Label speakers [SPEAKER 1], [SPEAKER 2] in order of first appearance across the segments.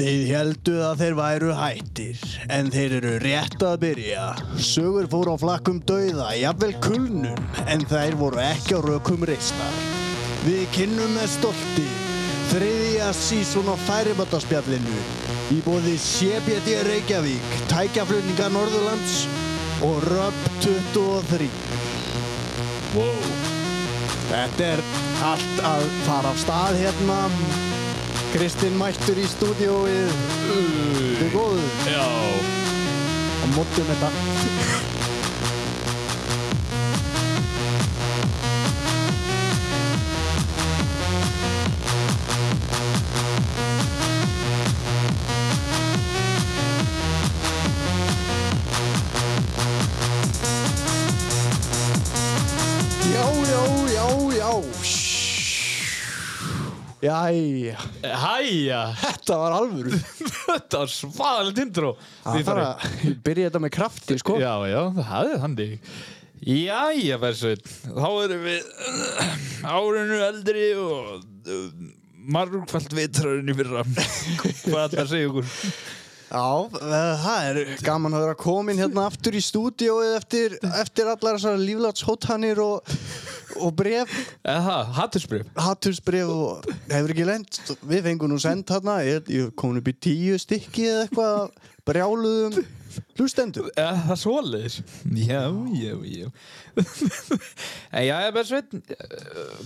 [SPEAKER 1] Þið heldu að þeir væru hættir, en þeir eru rétt að byrja. Sögur fóru á flakkum dauða, jafnvel kulnum, en þær voru ekki á rökum reistar. Við kynnum með stolti þriðja sísun á færibataspjallinu í bóði CBD Reykjavík, tækjaflutninga Norðurlands og Röp 23.
[SPEAKER 2] Wow.
[SPEAKER 1] Þetta er allt að fara af stað hérna. Kristinn mættur í stúdióið. Þið er góðu.
[SPEAKER 2] Já,
[SPEAKER 1] á mótum þetta Já, já, já, já Jæja,
[SPEAKER 2] hæja,
[SPEAKER 1] þetta var alvöru
[SPEAKER 2] þetta var svaðalegt intro
[SPEAKER 1] Það
[SPEAKER 2] Við
[SPEAKER 1] þarf
[SPEAKER 2] þarf-
[SPEAKER 1] að byrja þetta með krafti, sko
[SPEAKER 2] Já, já, það er þannig Jæja, Bersveit, þá erum við árinu eldri og uh, margfald vitrarinn í fyrra Hvað ætlar að segja ykkur?
[SPEAKER 1] Já, eh, það er gaman að vera komin hérna aftur í stúdíóið eftir, eftir allar þessar líflátshótanir og, og bref,
[SPEAKER 2] Eða, hattusbrif
[SPEAKER 1] hattursbref og hefur ekki lent, við fengum nú send hérna, ég, ég kom upp í tíu stykki eða eitthvað brjáluðum hlustendur.
[SPEAKER 2] Eða, það er svoleiðis Já, já, já En jæja, Bersveit,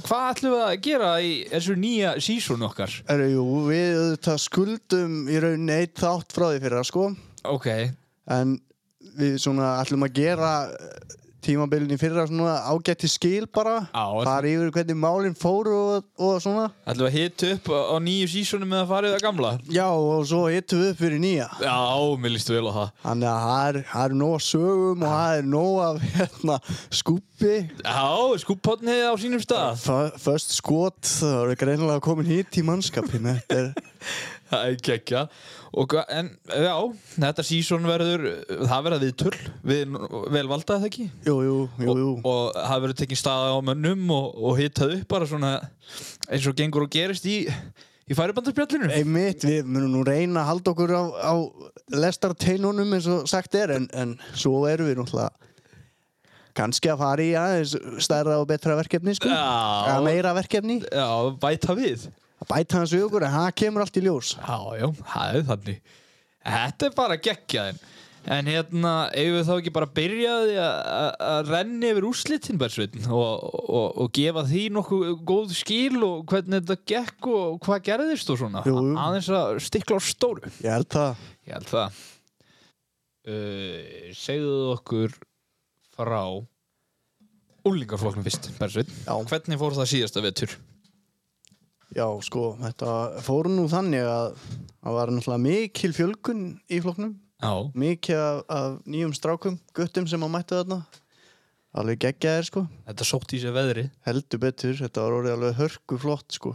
[SPEAKER 2] hvað ætlum við að gera í þessu nýja sísón okkar?
[SPEAKER 1] Eru, jú, við auðvitað skuldum í rauninni eitt þátt frá því fyrir það sko,
[SPEAKER 2] Ok,
[SPEAKER 1] en við svona ætlum að gera eh, tímabilin í fyrra svona ágætti skil bara,
[SPEAKER 2] á,
[SPEAKER 1] fara yfir hvernig málinn fóru og, og svona.
[SPEAKER 2] Ætlum við að hita upp á, á nýju sísónu með að fara í það gamla?
[SPEAKER 1] Já, og svo hittum við upp fyrir nýja.
[SPEAKER 2] Já, mér líst vel á það.
[SPEAKER 1] Þannig að það er, það er nóg af sögum og það er nóg af hérna, skúpi.
[SPEAKER 2] Já, skúppotnið á sínum stað.
[SPEAKER 1] F- Föst skot, það voru greinilega komin hitt í mannskapin. Þetta er,
[SPEAKER 2] Það er kekja. Og, hva- en já, þetta sísón verður, það verða við tull, við vel valda það ekki?
[SPEAKER 1] jú, jú, jú, jú.
[SPEAKER 2] Og, og það verður tekinn staða á mönnum og, og hitað upp bara svona eins og gengur og gerist í, í færibandarspjallinu.
[SPEAKER 1] Einmitt, við munum nú reyna að halda okkur á, á lestarteinunum eins og sagt er, en, en svo erum við náttúrulega kannski að fara í aðeins stærra og betra verkefni, sko. Eða
[SPEAKER 2] Já,
[SPEAKER 1] meira verkefni.
[SPEAKER 2] já, bæta við.
[SPEAKER 1] Að bæta hans við okkur, en það kemur allt í ljós.
[SPEAKER 2] Já, já, það er þannig Þetta er bara geggjaðin En hérna, eigum við þá ekki bara byrjaði að renni yfir úrslitin Bersveitin og, og, og gefa því nokkuð góð skil og hvernig þetta gekk og hvað gerðist og svona
[SPEAKER 1] Jú, jú.
[SPEAKER 2] aðeins að stikla á stóru
[SPEAKER 1] Ég held það.
[SPEAKER 2] Ég held það uh, Segðu okkur frá úlingarflokknum fyrst Bersveit
[SPEAKER 1] Já.
[SPEAKER 2] Hvernig fór það síðasta vetur?
[SPEAKER 1] Já, sko, þetta fór nú þannig að það var náttúrulega mikil fjölgun í flokknum,
[SPEAKER 2] Já,
[SPEAKER 1] mikil af, af nýjum strákum, guttum sem að mættu þarna, alveg geggjaðir, sko,
[SPEAKER 2] þetta sótt í sér veðri
[SPEAKER 1] heldur betur, þetta var orðið alveg hörku flott, sko,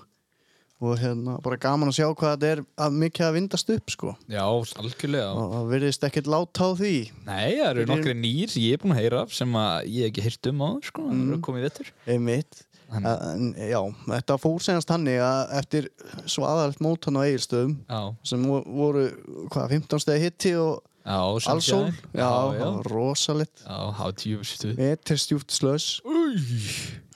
[SPEAKER 1] og hérna, bara gaman að sjá hvað þetta er að mikil að vindast upp, sko,
[SPEAKER 2] Já, algjörlega
[SPEAKER 1] og það virðist ekkert lát á því.
[SPEAKER 2] Nei, það eru
[SPEAKER 1] Fyrir-
[SPEAKER 2] nokkri nýr sem ég er búinn að heyra af sem að ég hef ekki heyrt um á sko, mm.
[SPEAKER 1] Mhm.
[SPEAKER 2] það eru komið vettur
[SPEAKER 1] Einmitt.
[SPEAKER 2] Hann-
[SPEAKER 1] En, já, þetta fór senast þannig að eftir svaðalegt mótan á eigilstöðum
[SPEAKER 2] Já,
[SPEAKER 1] sem vo- voru, hvað, 15 stegi hitti og
[SPEAKER 2] já,
[SPEAKER 1] Allsól,
[SPEAKER 2] Sunshine.
[SPEAKER 1] já,
[SPEAKER 2] já,
[SPEAKER 1] það var rosalegt
[SPEAKER 2] já, há tjúfstu
[SPEAKER 1] Meterstjúft slöss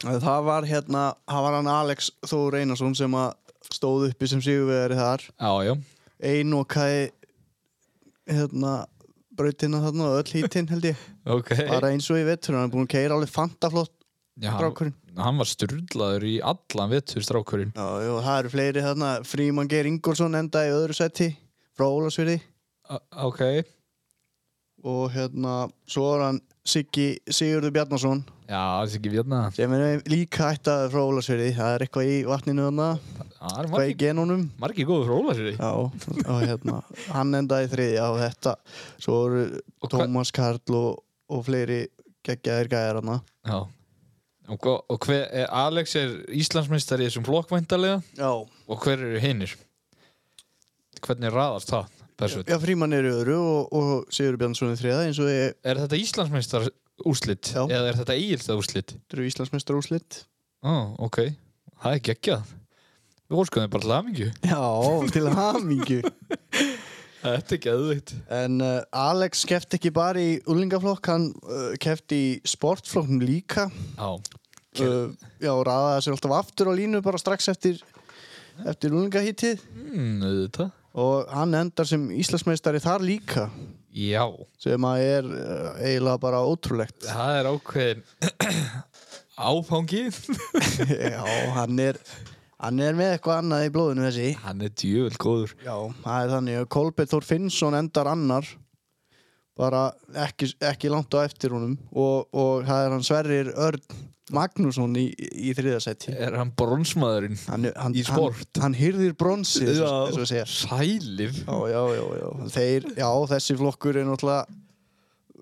[SPEAKER 1] Það var hérna, það var hann Alex Þór Einarsson sem að stóð uppi sem sigurvegari þar
[SPEAKER 2] Já, já,
[SPEAKER 1] Einokaði hérna brautina þarna og öll hítinn held ég
[SPEAKER 2] ok
[SPEAKER 1] bara eins og í vetur, hann er búin að keira alveg fantaflott
[SPEAKER 2] já, hann,
[SPEAKER 1] strákurinn
[SPEAKER 2] hann var sturlaður í allan vettur strákurinn
[SPEAKER 1] Já, jú, það eru fleiri þarna, Fríman Geir Ingolson enda í öðru seti frá Ólasfyrði
[SPEAKER 2] A Ok,
[SPEAKER 1] og hérna, svo var hann Siggi Sigurður Bjarnason
[SPEAKER 2] já, það er ekki hérna. vjörna
[SPEAKER 1] sem er líka ættaður frá Ólasfyrði það er eitthvað í vatninu þarna
[SPEAKER 2] Það
[SPEAKER 1] eitthvað
[SPEAKER 2] er
[SPEAKER 1] í
[SPEAKER 2] margir,
[SPEAKER 1] genónum
[SPEAKER 2] margir góður fróla sér
[SPEAKER 1] Já, og hérna, hann endaði í þriðja og þetta, svo voru
[SPEAKER 2] Og hvað-
[SPEAKER 1] Tómas Karl og, og fleiri geggjaðir gæðar hana
[SPEAKER 2] Já Og, hva- og hver, er, Alex er Íslandsmeistari í þessum flokkvæntalega
[SPEAKER 1] Já,
[SPEAKER 2] og hver eru hinnir? Hvernig raðast það? Þessu?
[SPEAKER 1] já frímann er í öðru og, og Sigur Bjarnsson í þriðja eins og ég
[SPEAKER 2] Er þetta Íslandsmeistar úrslit?
[SPEAKER 1] Já.
[SPEAKER 2] Eða er þetta Egilstað úrslit?
[SPEAKER 1] eru Íslandsmeistar úrslit
[SPEAKER 2] Ó, ok. Það er geggjað. Við óskuðum þeim bara til hamingju.
[SPEAKER 1] Já, til hamingju.
[SPEAKER 2] Þetta er geðvikt.
[SPEAKER 1] En uh, Alex kefti ekki bara í úlingaflokk, hann uh, kefti í sportflokknum líka.
[SPEAKER 2] Já.
[SPEAKER 1] Uh, já, og raðaði sér alltaf aftur á línu bara strax eftir, eftir úlingahítið.
[SPEAKER 2] Mm, auðvitað.
[SPEAKER 1] Og hann endar sem Íslandsmeistari þar líka,
[SPEAKER 2] Já.
[SPEAKER 1] sem að er uh, eiginlega bara ótrúlegt.
[SPEAKER 2] Það er ákveðin áfangi.
[SPEAKER 1] já, hann er, hann er með eitthvað annað í blóðinu þessi.
[SPEAKER 2] Hann er djövel góður.
[SPEAKER 1] Já, það er þannig að Kolbjörn Þór Finnsson endar annar bara ekki, ekki langt á eftir honum og, og það er hann Sverrir Örn Magnússon í, í þriðasætti
[SPEAKER 2] Er hann bronsmaðurinn?
[SPEAKER 1] hann, hann,
[SPEAKER 2] Eh, Í sport.
[SPEAKER 1] hann, hann hyrðir bronsið eins og- eins og segja
[SPEAKER 2] Sælif.
[SPEAKER 1] já, já, já, já. Þeir, já, þessi flokkur er náttúrulega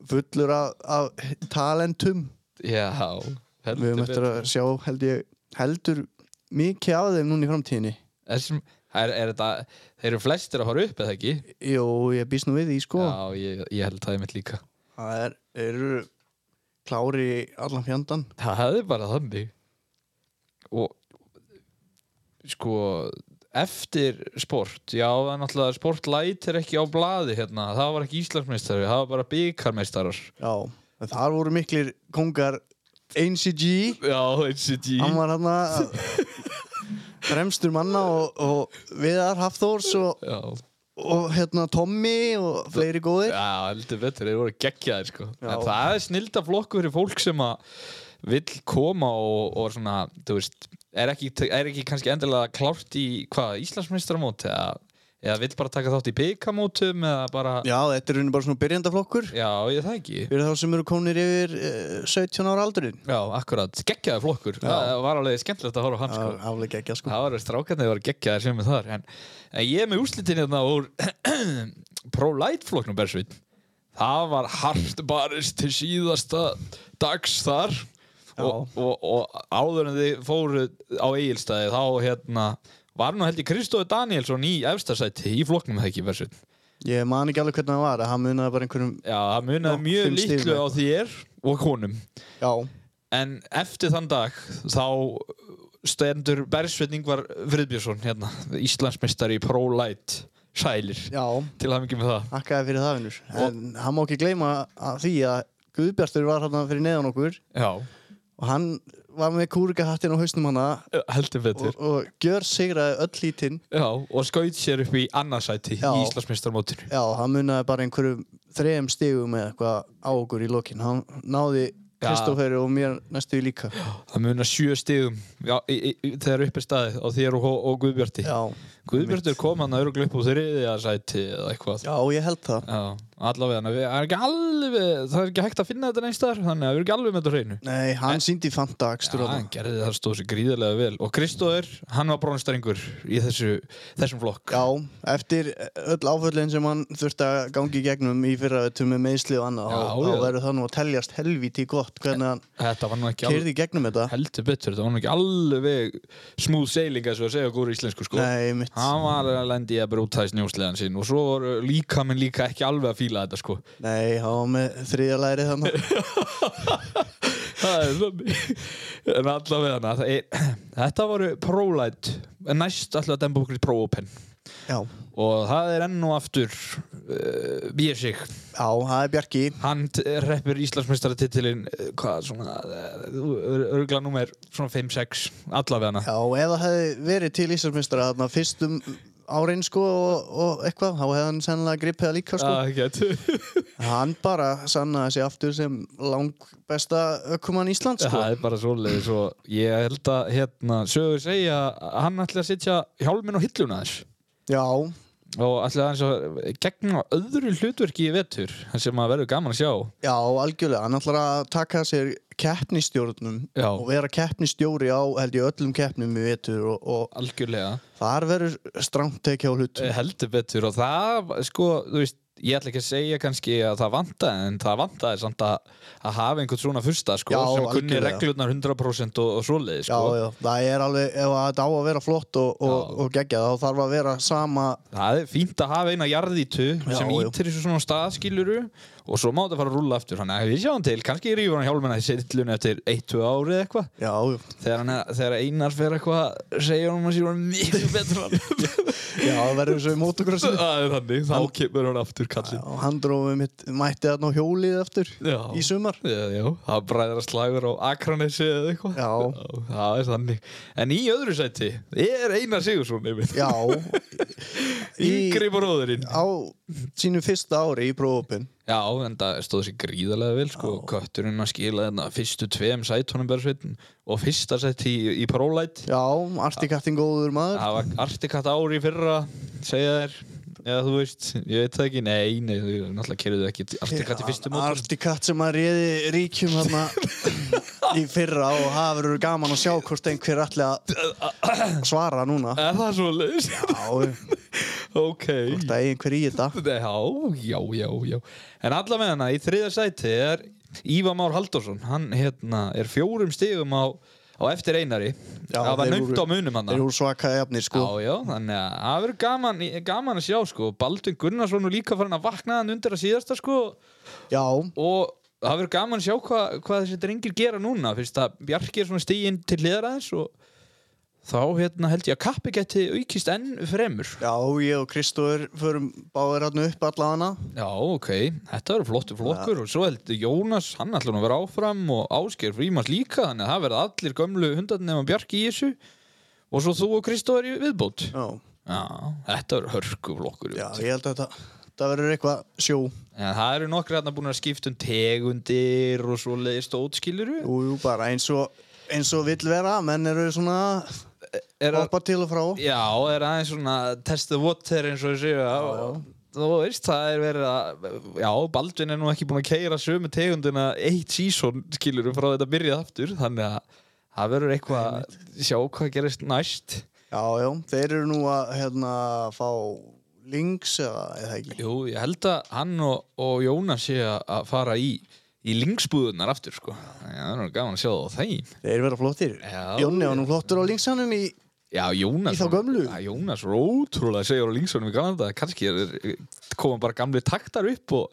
[SPEAKER 1] fullur af, af talentum
[SPEAKER 2] Já.
[SPEAKER 1] við höfum eftir að sjá held ég, heldur mikið af þeim núna í framtíðinni
[SPEAKER 2] Þessum, er, er þetta, þeir eru flestir að horfa upp eða ekki?
[SPEAKER 1] Jó, ég býst nú við því sko
[SPEAKER 2] Já, ég, ég held það í mitt líka.
[SPEAKER 1] það er, eru klári í allan fjandan
[SPEAKER 2] Það er bara þannig. Og sko, eftir sport, já, það er náttúrulega sport lætir ekki á blaði hérna. Það var ekki Íslandsmeistari, það var bara byggarmeistarar.
[SPEAKER 1] Já, en þar voru miklir kongar Ainsi G
[SPEAKER 2] Já, eins og því.
[SPEAKER 1] Hann var hann að Fremstur manna og, og Viðar Hafþórs og,
[SPEAKER 2] Já,
[SPEAKER 1] og hérna Tommy og fleiri góðir
[SPEAKER 2] já, heldur betur, þeir voru geggjaðir sko.
[SPEAKER 1] Já.
[SPEAKER 2] En það er snilda flokkur fyrir fólk sem að vill koma og, og svona, þú veist, er ekki, er ekki kannski endilega klárt í hvað, Íslandsmeistaramót eða, eða vill bara taka þátt í byggamótum eða bara,
[SPEAKER 1] Já, þetta er raunin bara svona byrjandaflokkur
[SPEAKER 2] já, ég það ekki.
[SPEAKER 1] Fyrir þá sem eru komnir yfir eh, 17 ára aldurinn
[SPEAKER 2] Já, akkurat, geggjaði flokkur Það var alveg skemmtilegt að horfa á hann
[SPEAKER 1] Það
[SPEAKER 2] sko.
[SPEAKER 1] var aflega ekki sko
[SPEAKER 2] Það var alveg strákarnir það var geggjaðir sem við þar en, en ég er með úslitin hérna úr Pro-Light flokknum Bersvít Það var hart barist til síðasta dags þar og, og, og áður en þið fóru á eigilstæði þá hérna var nú held ég Kristófi Danielsson í efstasæti í flokknum það ekki Bersvít
[SPEAKER 1] Ég man ekki alveg hvernig það var að hann munaði bara einhverjum
[SPEAKER 2] Já, það munaði
[SPEAKER 1] Já,
[SPEAKER 2] mjög
[SPEAKER 1] fimm stigum
[SPEAKER 2] litlu á þér og konum
[SPEAKER 1] Já,
[SPEAKER 2] En eftir þann dag þá stendur Bersveit Ingvar Friðbjörnsson hérna, Íslandsmeistari í Pro-Light sælir
[SPEAKER 1] já,
[SPEAKER 2] til hafingi með það.
[SPEAKER 1] akkaði fyrir það vinnur En hann má ekki gleyma að því að Guðbjartur var hann fyrir neðan okkur
[SPEAKER 2] Já,
[SPEAKER 1] og hann var með kúrikahattinn á hausnum hana
[SPEAKER 2] heldur betur.
[SPEAKER 1] og, og gjör sigraði öll lítinn
[SPEAKER 2] Já, og skaut sér upp í annarsæti
[SPEAKER 1] Já.
[SPEAKER 2] í Íslandsmeistarmótinu.
[SPEAKER 1] já, hann munaði bara einhverjum þrejum stigum eða eitthvað á okkur í lokin hann náði
[SPEAKER 2] Já.
[SPEAKER 1] Kristóferi og mér næstu í líka
[SPEAKER 2] Það munar sjö stigum já, í, í, í- þegar upp er staðið á þér og, og Guðbjarti.
[SPEAKER 1] já,
[SPEAKER 2] Guðbjartur kom hann að örglu upp á þriðja sæti eða eitthvað.
[SPEAKER 1] já, ég held það
[SPEAKER 2] Já, allavega, við- það er ekki alveg, það er ekki hægt að finna þetta neins þar, þannig að við erum ekki alveg með þetta á hreinu.
[SPEAKER 1] nei, hann síndi fanta akstur
[SPEAKER 2] Já,
[SPEAKER 1] ja.
[SPEAKER 2] hann gerði það stóð sér gríðarlega vel og Kristóður, hann var brónstrengur í þessu, þessum flokk
[SPEAKER 1] já, eftir öll áföllin sem hann þurfti að gangi í gegnum í fyrra vettu með meðsli og annað
[SPEAKER 2] Já,
[SPEAKER 1] þá-
[SPEAKER 2] já.
[SPEAKER 1] þá verður það nú að teljast helvíti gott hvernig hann
[SPEAKER 2] Þetta var nú ekki alveg
[SPEAKER 1] keirði í gegnum þetta
[SPEAKER 2] heldur betur, þetta var nú ekki alveg smúð sailing eins og að segja góru íslensku sko
[SPEAKER 1] nei, mitt
[SPEAKER 2] Hann var að lendi að brúta í snjósleðan sín og svo voru líka minn líka ekki alveg að fíla þetta sko
[SPEAKER 1] nei, hann var með þriðja læri þannig
[SPEAKER 2] Það er þannig En allavega það er, þetta voru ProLight en næst alltaf að demba okkur í ProOpen
[SPEAKER 1] já,
[SPEAKER 2] og það er enn og aftur uh, Biersik
[SPEAKER 1] já, það er Bjarki
[SPEAKER 2] Hann t- reppir Íslandsmeistaratitilinn eh, hvað svona eh, örgla númer svona 5-6 allavega
[SPEAKER 1] Já, ef það hefði verið til Íslandsmeistara þarna fyrstum árin sko og, og eitthvað, þá hefði hann sennilega gripið það líka
[SPEAKER 2] Ah,
[SPEAKER 1] sko.
[SPEAKER 2] sko.
[SPEAKER 1] Hann bara sannaði sig aftur sem langbesta ökumann Íslands sko.
[SPEAKER 2] Það er bara svoleiðis og ég held að hérna, sögur segja að hann ætli að sitja hjálminn og hilluna þess
[SPEAKER 1] Já,
[SPEAKER 2] og ætli að hans gegna öðru hlutverki í vetur sem að verður gaman að sjá
[SPEAKER 1] já, algjörlega. Hann ætlar að taka sér keppnistjórnum
[SPEAKER 2] Já.
[SPEAKER 1] og vera keppnistjóri á held ég öllum keppnum við vetur og,
[SPEAKER 2] algjörlega
[SPEAKER 1] og þar verður strangt tekið á hlutum.
[SPEAKER 2] Eh, heldur betur og það sko, þú veist, ég ætla ekki að segja kannski að það vantaði, en það vantaði samt að, að hafa einhvern svona fyrsta sko,
[SPEAKER 1] Já,
[SPEAKER 2] sem kunni
[SPEAKER 1] algjörlega.
[SPEAKER 2] reglurnar 100% og, og svoleiði
[SPEAKER 1] Já,
[SPEAKER 2] sko.
[SPEAKER 1] já, það er alveg, ef þetta á að vera flott og, og,
[SPEAKER 2] Já.
[SPEAKER 1] og geggjað, þá þarf að vera sama
[SPEAKER 2] það er fínt að hafa eina jarðítu
[SPEAKER 1] Já,
[SPEAKER 2] sem
[SPEAKER 1] já.
[SPEAKER 2] ítir þessu svona staðskiluru og svo má þetta fara að rúlla aftur þannig að við sjáum til, kannski rýfur hann hjálmina í sittlun eftir 1-2 árið eitthvað
[SPEAKER 1] Já,
[SPEAKER 2] þegar, hann er- þegar Einar fer eitthvað segja hann að sér hann miklu betra
[SPEAKER 1] já, það verður svo í motocrossi
[SPEAKER 2] það er þannig, þá kemur hann aftur kallinn
[SPEAKER 1] og hann dróði mitt, mætti þarna á hjólið aftur
[SPEAKER 2] Já.
[SPEAKER 1] í sumar
[SPEAKER 2] Já, já, það bræðar slagur á Akranesi eða eitthvað
[SPEAKER 1] Já.
[SPEAKER 2] Það er þannig En í öðru sæti er Einar Sigursson einmitt
[SPEAKER 1] Já, í-
[SPEAKER 2] Yngri bróðurinn
[SPEAKER 1] á sínu fyrsta ári í prófopin
[SPEAKER 2] Já, en það stóð sér gríðarlega vel sko, kötturinn að skila þarna fyrstu tveim sætunum berðsveitin og fyrsta sæti í, í prólæt
[SPEAKER 1] Já, artikattin góður maður
[SPEAKER 2] Það var artikatt ári í fyrra segja þér, eða þú veist ég veit það ekki, nei, nei, þú náttúrulega kerðu ekki artikatt í fyrstu mót
[SPEAKER 1] Artikatt sem að réði ríkjum þarna í fyrra og það verður gaman að sjá hvort einhver allir að svara núna
[SPEAKER 2] Er það svo leiðis?
[SPEAKER 1] Já,
[SPEAKER 2] ok
[SPEAKER 1] hvort að einhver í þetta
[SPEAKER 2] Já, já, já, já En allavega hana, í þriða sæti er Ívar Már Halldórsson Hann hérna, er fjórum stigum á, á eftir einari
[SPEAKER 1] Já,
[SPEAKER 2] Það var
[SPEAKER 1] þeir
[SPEAKER 2] naumt
[SPEAKER 1] voru-
[SPEAKER 2] á munum hann
[SPEAKER 1] Þeir eru svaka jafnir sko
[SPEAKER 2] Já, já, þannig að það verður gaman, gaman að sjá sko Baldvin Gunnarsson er líka farin að vakna hann undir að síðasta sko
[SPEAKER 1] Já,
[SPEAKER 2] og það verður gaman að sjá hva, hvað þessi drengir gera núna fyrst að Bjarki er svona stiginn til hliðar aðeins og þá hérna held ég að kappi geti aukist enn fremur
[SPEAKER 1] já, ég og Kristóður förum báðir hann upp allana
[SPEAKER 2] Já, ok, þetta verður flottu flokkur og svo held Jónas, hann ætlum að vera áfram og Ásker Frímas líka þannig að það verða allir gömlu hundarnir nema Bjarki í þessu og svo þú og Kristóður í viðbót
[SPEAKER 1] Já,
[SPEAKER 2] Já, þetta verður hörku flokkur
[SPEAKER 1] já ég held að þetta, þetta verður eitthvað sjó
[SPEAKER 2] En það eru nokkri hérna búin að skipta um tegundir og svo leiðist ótskilur
[SPEAKER 1] Jú, jú, bara eins og, eins og vill vera menn eru svona
[SPEAKER 2] er að,
[SPEAKER 1] hoppa til og frá
[SPEAKER 2] Já, er aðeins svona test the water eins og þessu já, Þú veist, það er verið að Já, Baldvin er nú ekki búin að keira sömu tegundina eitt sísón skilur frá þetta byrjað aftur þannig að það verður eitthvað sjá hvað gerist næst
[SPEAKER 1] Já, já, þeir eru nú að hérna fá links eða eða ekki
[SPEAKER 2] Jú, ég held að hann og, og Jónas sé að- að fara í í linksbúðunar aftur sko Já, það er nú gaman að sjá það á þeim
[SPEAKER 1] Þeir vera flottir
[SPEAKER 2] Já.
[SPEAKER 1] Jónni var nú flottur á linksanum í
[SPEAKER 2] Já, Jónas
[SPEAKER 1] Í þá gömlu?
[SPEAKER 2] Já, Jónas var ótrúlega segjur á Lingsonum í Kanada kannski er, koma bara gamli taktar upp og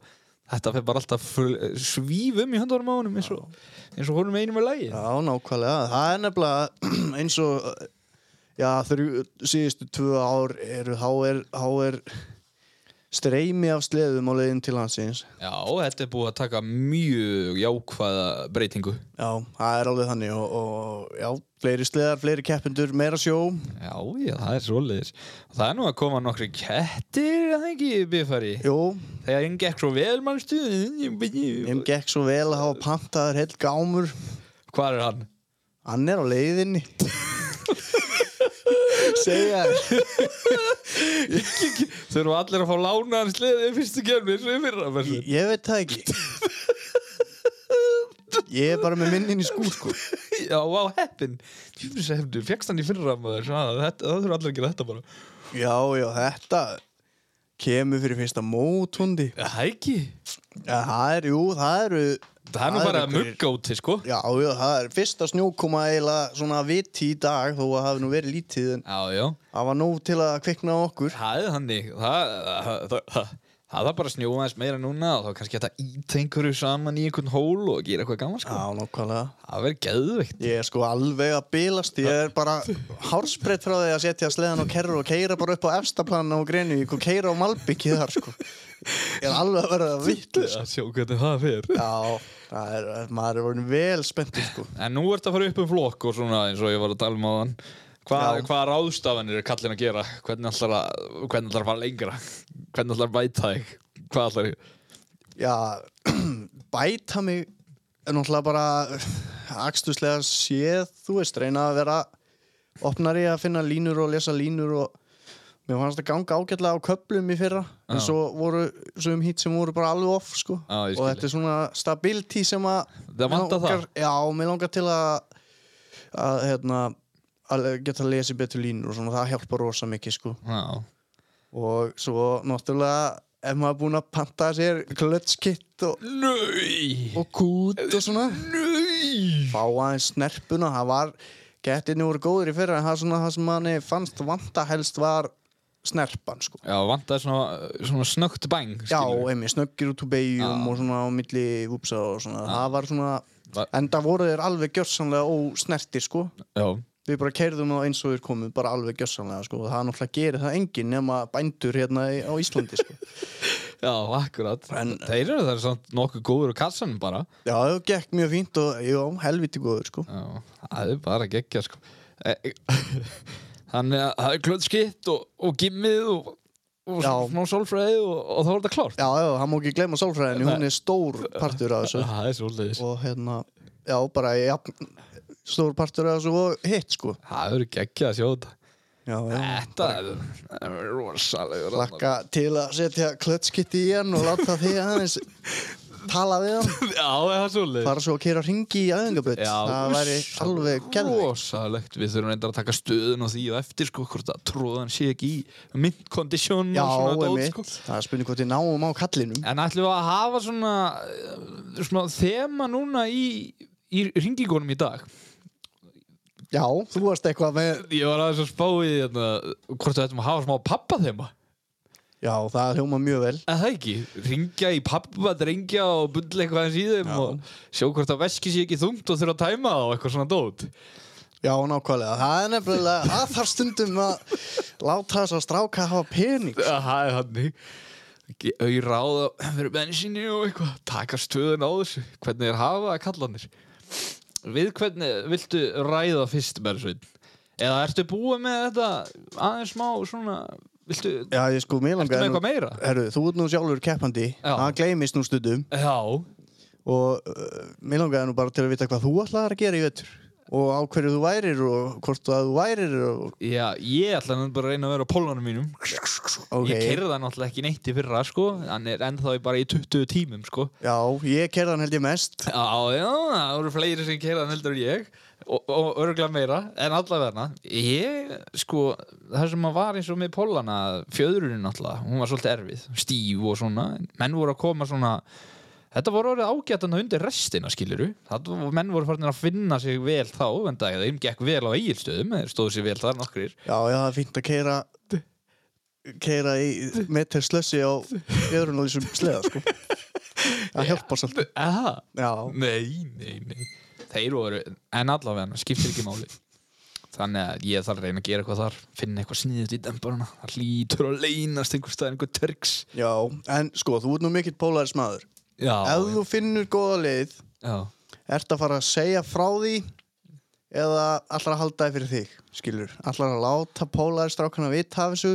[SPEAKER 2] þetta fer bara alltaf full- svífum í höndunum á honum eins og, eins og honum einum er lægi
[SPEAKER 1] Já, nákvæmlega, það er nefnilega eins og já, þrjú, síðustu tvö ár eru, þá er, þá er streymi af sleðum á leiðin til hansins
[SPEAKER 2] Já, þetta er búið að taka mjög jákvæða breytingu
[SPEAKER 1] Já, það er alveg þannig og, og já, fleiri sleðar, fleiri keppendur, meira sjó
[SPEAKER 2] Já, já, það er svoleiðis og það er nú að koma nokkri kettir að það ekki, Bifari
[SPEAKER 1] Jú,
[SPEAKER 2] Þegar einn gekk svo vel, mannstu
[SPEAKER 1] þeim gekk svo vel að hafa pantaður heill gámur
[SPEAKER 2] Hvar er hann?
[SPEAKER 1] Hann er á leiðinni Segja þér.
[SPEAKER 2] Þurfa allir að fá lánaðan sleðið í fyrstu kemni eins og í fyrra
[SPEAKER 1] Ég- Ég veit það ekki Ég er bara með minnin í skúr sko
[SPEAKER 2] Já, á heppin Júfis hefndu, fegst hann í fyrra maður Sá, þetta, Það þurfa allir að gera þetta bara
[SPEAKER 1] Já, já, þetta kemur fyrir fyrsta mótundi
[SPEAKER 2] Já, Það ekki
[SPEAKER 1] Já, það er, jú, það eru
[SPEAKER 2] Það er nú bara að
[SPEAKER 1] einhverjir-
[SPEAKER 2] mugga úti, sko
[SPEAKER 1] Já, já, það er fyrsta snjókoma eiginlega svona viti í dag þó að það hafi nú verið lítið en
[SPEAKER 2] Já, já
[SPEAKER 1] það var nóg til að kvikna á okkur
[SPEAKER 2] Það er þannig Það, það, það, það, það er bara að snjóa aðeins meira núna og þá er kannski hægt að íta einhverju saman í einhvern hól og gera eitthvað gaman, sko
[SPEAKER 1] Já, nákvæmlega
[SPEAKER 2] Það verður geðveikt
[SPEAKER 1] Ég er sko alveg að bilast, ég er bara hárspreitt frá því að setja sleðan á kerru og keira bara upp á efstaplanna og grenu og keira á malbyggi þar sko. Ég er alveg að verða vittlust.
[SPEAKER 2] Að sjá hvernig það fer
[SPEAKER 1] Já, það er, maður er vorin vel spenntur sko.
[SPEAKER 2] En nú ertu að fara upp um flokk og svona eins og ég var að tala um á þann Hvað,
[SPEAKER 1] Já.
[SPEAKER 2] hvað ráðstafanir er kallin að gera? Hvernig ætlar að, hvernig ætlar að fara lengra? Hvernig ætlar að bæta þig? Hvað ætlar þig?
[SPEAKER 1] Já, bæta mig er náttúrulega bara akstuslega séð, þú veist, reyna að vera opnari að finna línur og lesa línur og mér fannst að ganga ágætlega á köplum í fyrra en
[SPEAKER 2] Já.
[SPEAKER 1] svo voru sum hitt sem voru bara alveg off sko
[SPEAKER 2] Já, ég
[SPEAKER 1] og
[SPEAKER 2] skil.
[SPEAKER 1] þetta er svona stability sem að
[SPEAKER 2] Það vantar það?
[SPEAKER 1] Já, mér langar til að að hérna að geta að lesa betur línur og svona það hjálpar rosa mikið sko
[SPEAKER 2] Já,
[SPEAKER 1] og svo náttúrulega ef maður er búinn að panta sér klötskitt og,
[SPEAKER 2] Nei
[SPEAKER 1] og kút og svona
[SPEAKER 2] Nei
[SPEAKER 1] fá aðeins snerpuna það var, gettinni voru góður í fyrra en það, er svona, það sem manni fannst vanta helst var snerpan sko.
[SPEAKER 2] Já, vantaði svona, svona snögt bang
[SPEAKER 1] Já,
[SPEAKER 2] skilurðu.
[SPEAKER 1] einmitt, snöggir út úr beigjum
[SPEAKER 2] Já.
[SPEAKER 1] og svona á milli vupsa og svona, það var svona
[SPEAKER 2] Va-
[SPEAKER 1] enda voru þeir alveg gjörsanlega ósnertir sko,
[SPEAKER 2] Já,
[SPEAKER 1] við bara keirðum þá eins og þeir komu bara alveg gjörsanlega sko, það er náttúrulega gerir það enginn nema bændur hérna í- á Íslandi sko.
[SPEAKER 2] já, akkurat
[SPEAKER 1] En-
[SPEAKER 2] Þeir eru þar samt nokkuð góður á kassanum bara
[SPEAKER 1] Já, það gekk mjög fínt og já, helviti góður sko.
[SPEAKER 2] Já, það er bara geggja sko E- Þannig að það er klöldskitt og, og gimmið og, og
[SPEAKER 1] Já.
[SPEAKER 2] smá sólfræði og, og þá er þetta klárt
[SPEAKER 1] Já, já, það má ekki gleyma sálfræðinni, hún er stór partur af þessu
[SPEAKER 2] Það er svolítið
[SPEAKER 1] og hérna, já, bara jafn, stór partur af þessu og hitt sko.
[SPEAKER 2] Það eru geggja að sjá þetta
[SPEAKER 1] Já, já.
[SPEAKER 2] Þetta er- er rosalegur
[SPEAKER 1] Laka til að setja klötskitti í hann og láta því aðeins tala við hann
[SPEAKER 2] Já, það er svolítið
[SPEAKER 1] fara svo að kera hringi í aðingaböld það væri alveg gerðið
[SPEAKER 2] Rosalegt, við þurfum reyndar að taka stöðun á því og eftir sko, hvort að tróðan sé ekki í mint condition
[SPEAKER 1] Já,
[SPEAKER 2] og svona dót,
[SPEAKER 1] einmitt,
[SPEAKER 2] sko.
[SPEAKER 1] það er spurning hvort við náum á kallinum
[SPEAKER 2] En ætlum við að hafa svona, eh, svona þema núna í, í ringingunum í dag
[SPEAKER 1] Já, þú varst eitthvað með
[SPEAKER 2] Ég var aðeins að spá í hérna, hvort við ætlum að hafa smá pappa þema
[SPEAKER 1] Já, það hljóma mjög vel
[SPEAKER 2] En það ekki, ringja í pappa, drengja og bulla eitthvað eins í þeim
[SPEAKER 1] Já.
[SPEAKER 2] og sjá hvort að veski sé ekki þungt og þurfa að tæma það og eitthvað svona dót
[SPEAKER 1] Já, nákvæmlega, það er nefnilega að þar stundum að láta þess að stráka að hafa pening
[SPEAKER 2] Já, Það er hannig Ég ráða fyrir bensinni og eitthvað Taka stöðun á þessu Hvernig er hafa að kalla hannir Við hvernig viltu ræða fyrst Bersveit Eða ertu búið með þetta aðeins smá svona Viltu Ertu
[SPEAKER 1] Já, ég sko, mér
[SPEAKER 2] með
[SPEAKER 1] langaði
[SPEAKER 2] eitthvað meira
[SPEAKER 1] Herru, þú ert nú sjálfur keppandi
[SPEAKER 2] Já.
[SPEAKER 1] það gleymist nú stundum
[SPEAKER 2] Já
[SPEAKER 1] og uh, mér langaði nú bara til að vita hvað þú ætlaðar að gera í vettur og á hverju þú værir og hvort að þú værir og,
[SPEAKER 2] Já, ég ætla hann bara að reyna að vera á pólunum mínum
[SPEAKER 1] ok,
[SPEAKER 2] Ég kerði það náttúrulega ekki neitt í fyrra sko Hann er ennþá í bara í 20 tímum sko
[SPEAKER 1] já, ég kerði hann held ég mest
[SPEAKER 2] Já, já, það voru fleiri sem keiraðan heldur en ég og, og örgulega meira en allavegna ég, sko, það sem að var eins og með pólana, fjöðrunin alltaf hún var svolítið erfið, stíf og svona en menn voru að koma svona þetta voru orðið ágætana undir restina, skiluru það, menn voru farinir að finna sig vel þá, en það þeim gekk vel á eigilstöðum, þeir stóðu sér vel þar nokkrir
[SPEAKER 1] já, já, það er fínt að keira keira í meter slössi á öðrun og þessum sleða sko. það hjálpar svolítið
[SPEAKER 2] Aha,
[SPEAKER 1] já,
[SPEAKER 2] nei, nei, nei þeir voru, en allavegna, skiptir ekki máli Þannig að ég þarf að reyna að gera eitthvað þar, finna eitthvað sniðut í dembarana, það hlýtur að leynast einhver stað, einhver törks.
[SPEAKER 1] já, en sko, þú ert nú mikill polaris maður
[SPEAKER 2] Já,
[SPEAKER 1] ef þú finnur góða leið
[SPEAKER 2] já.
[SPEAKER 1] ert að fara að segja frá því eða allar að halda þið fyrir þig skilur, allar að láta Polaris strákana vita af þessu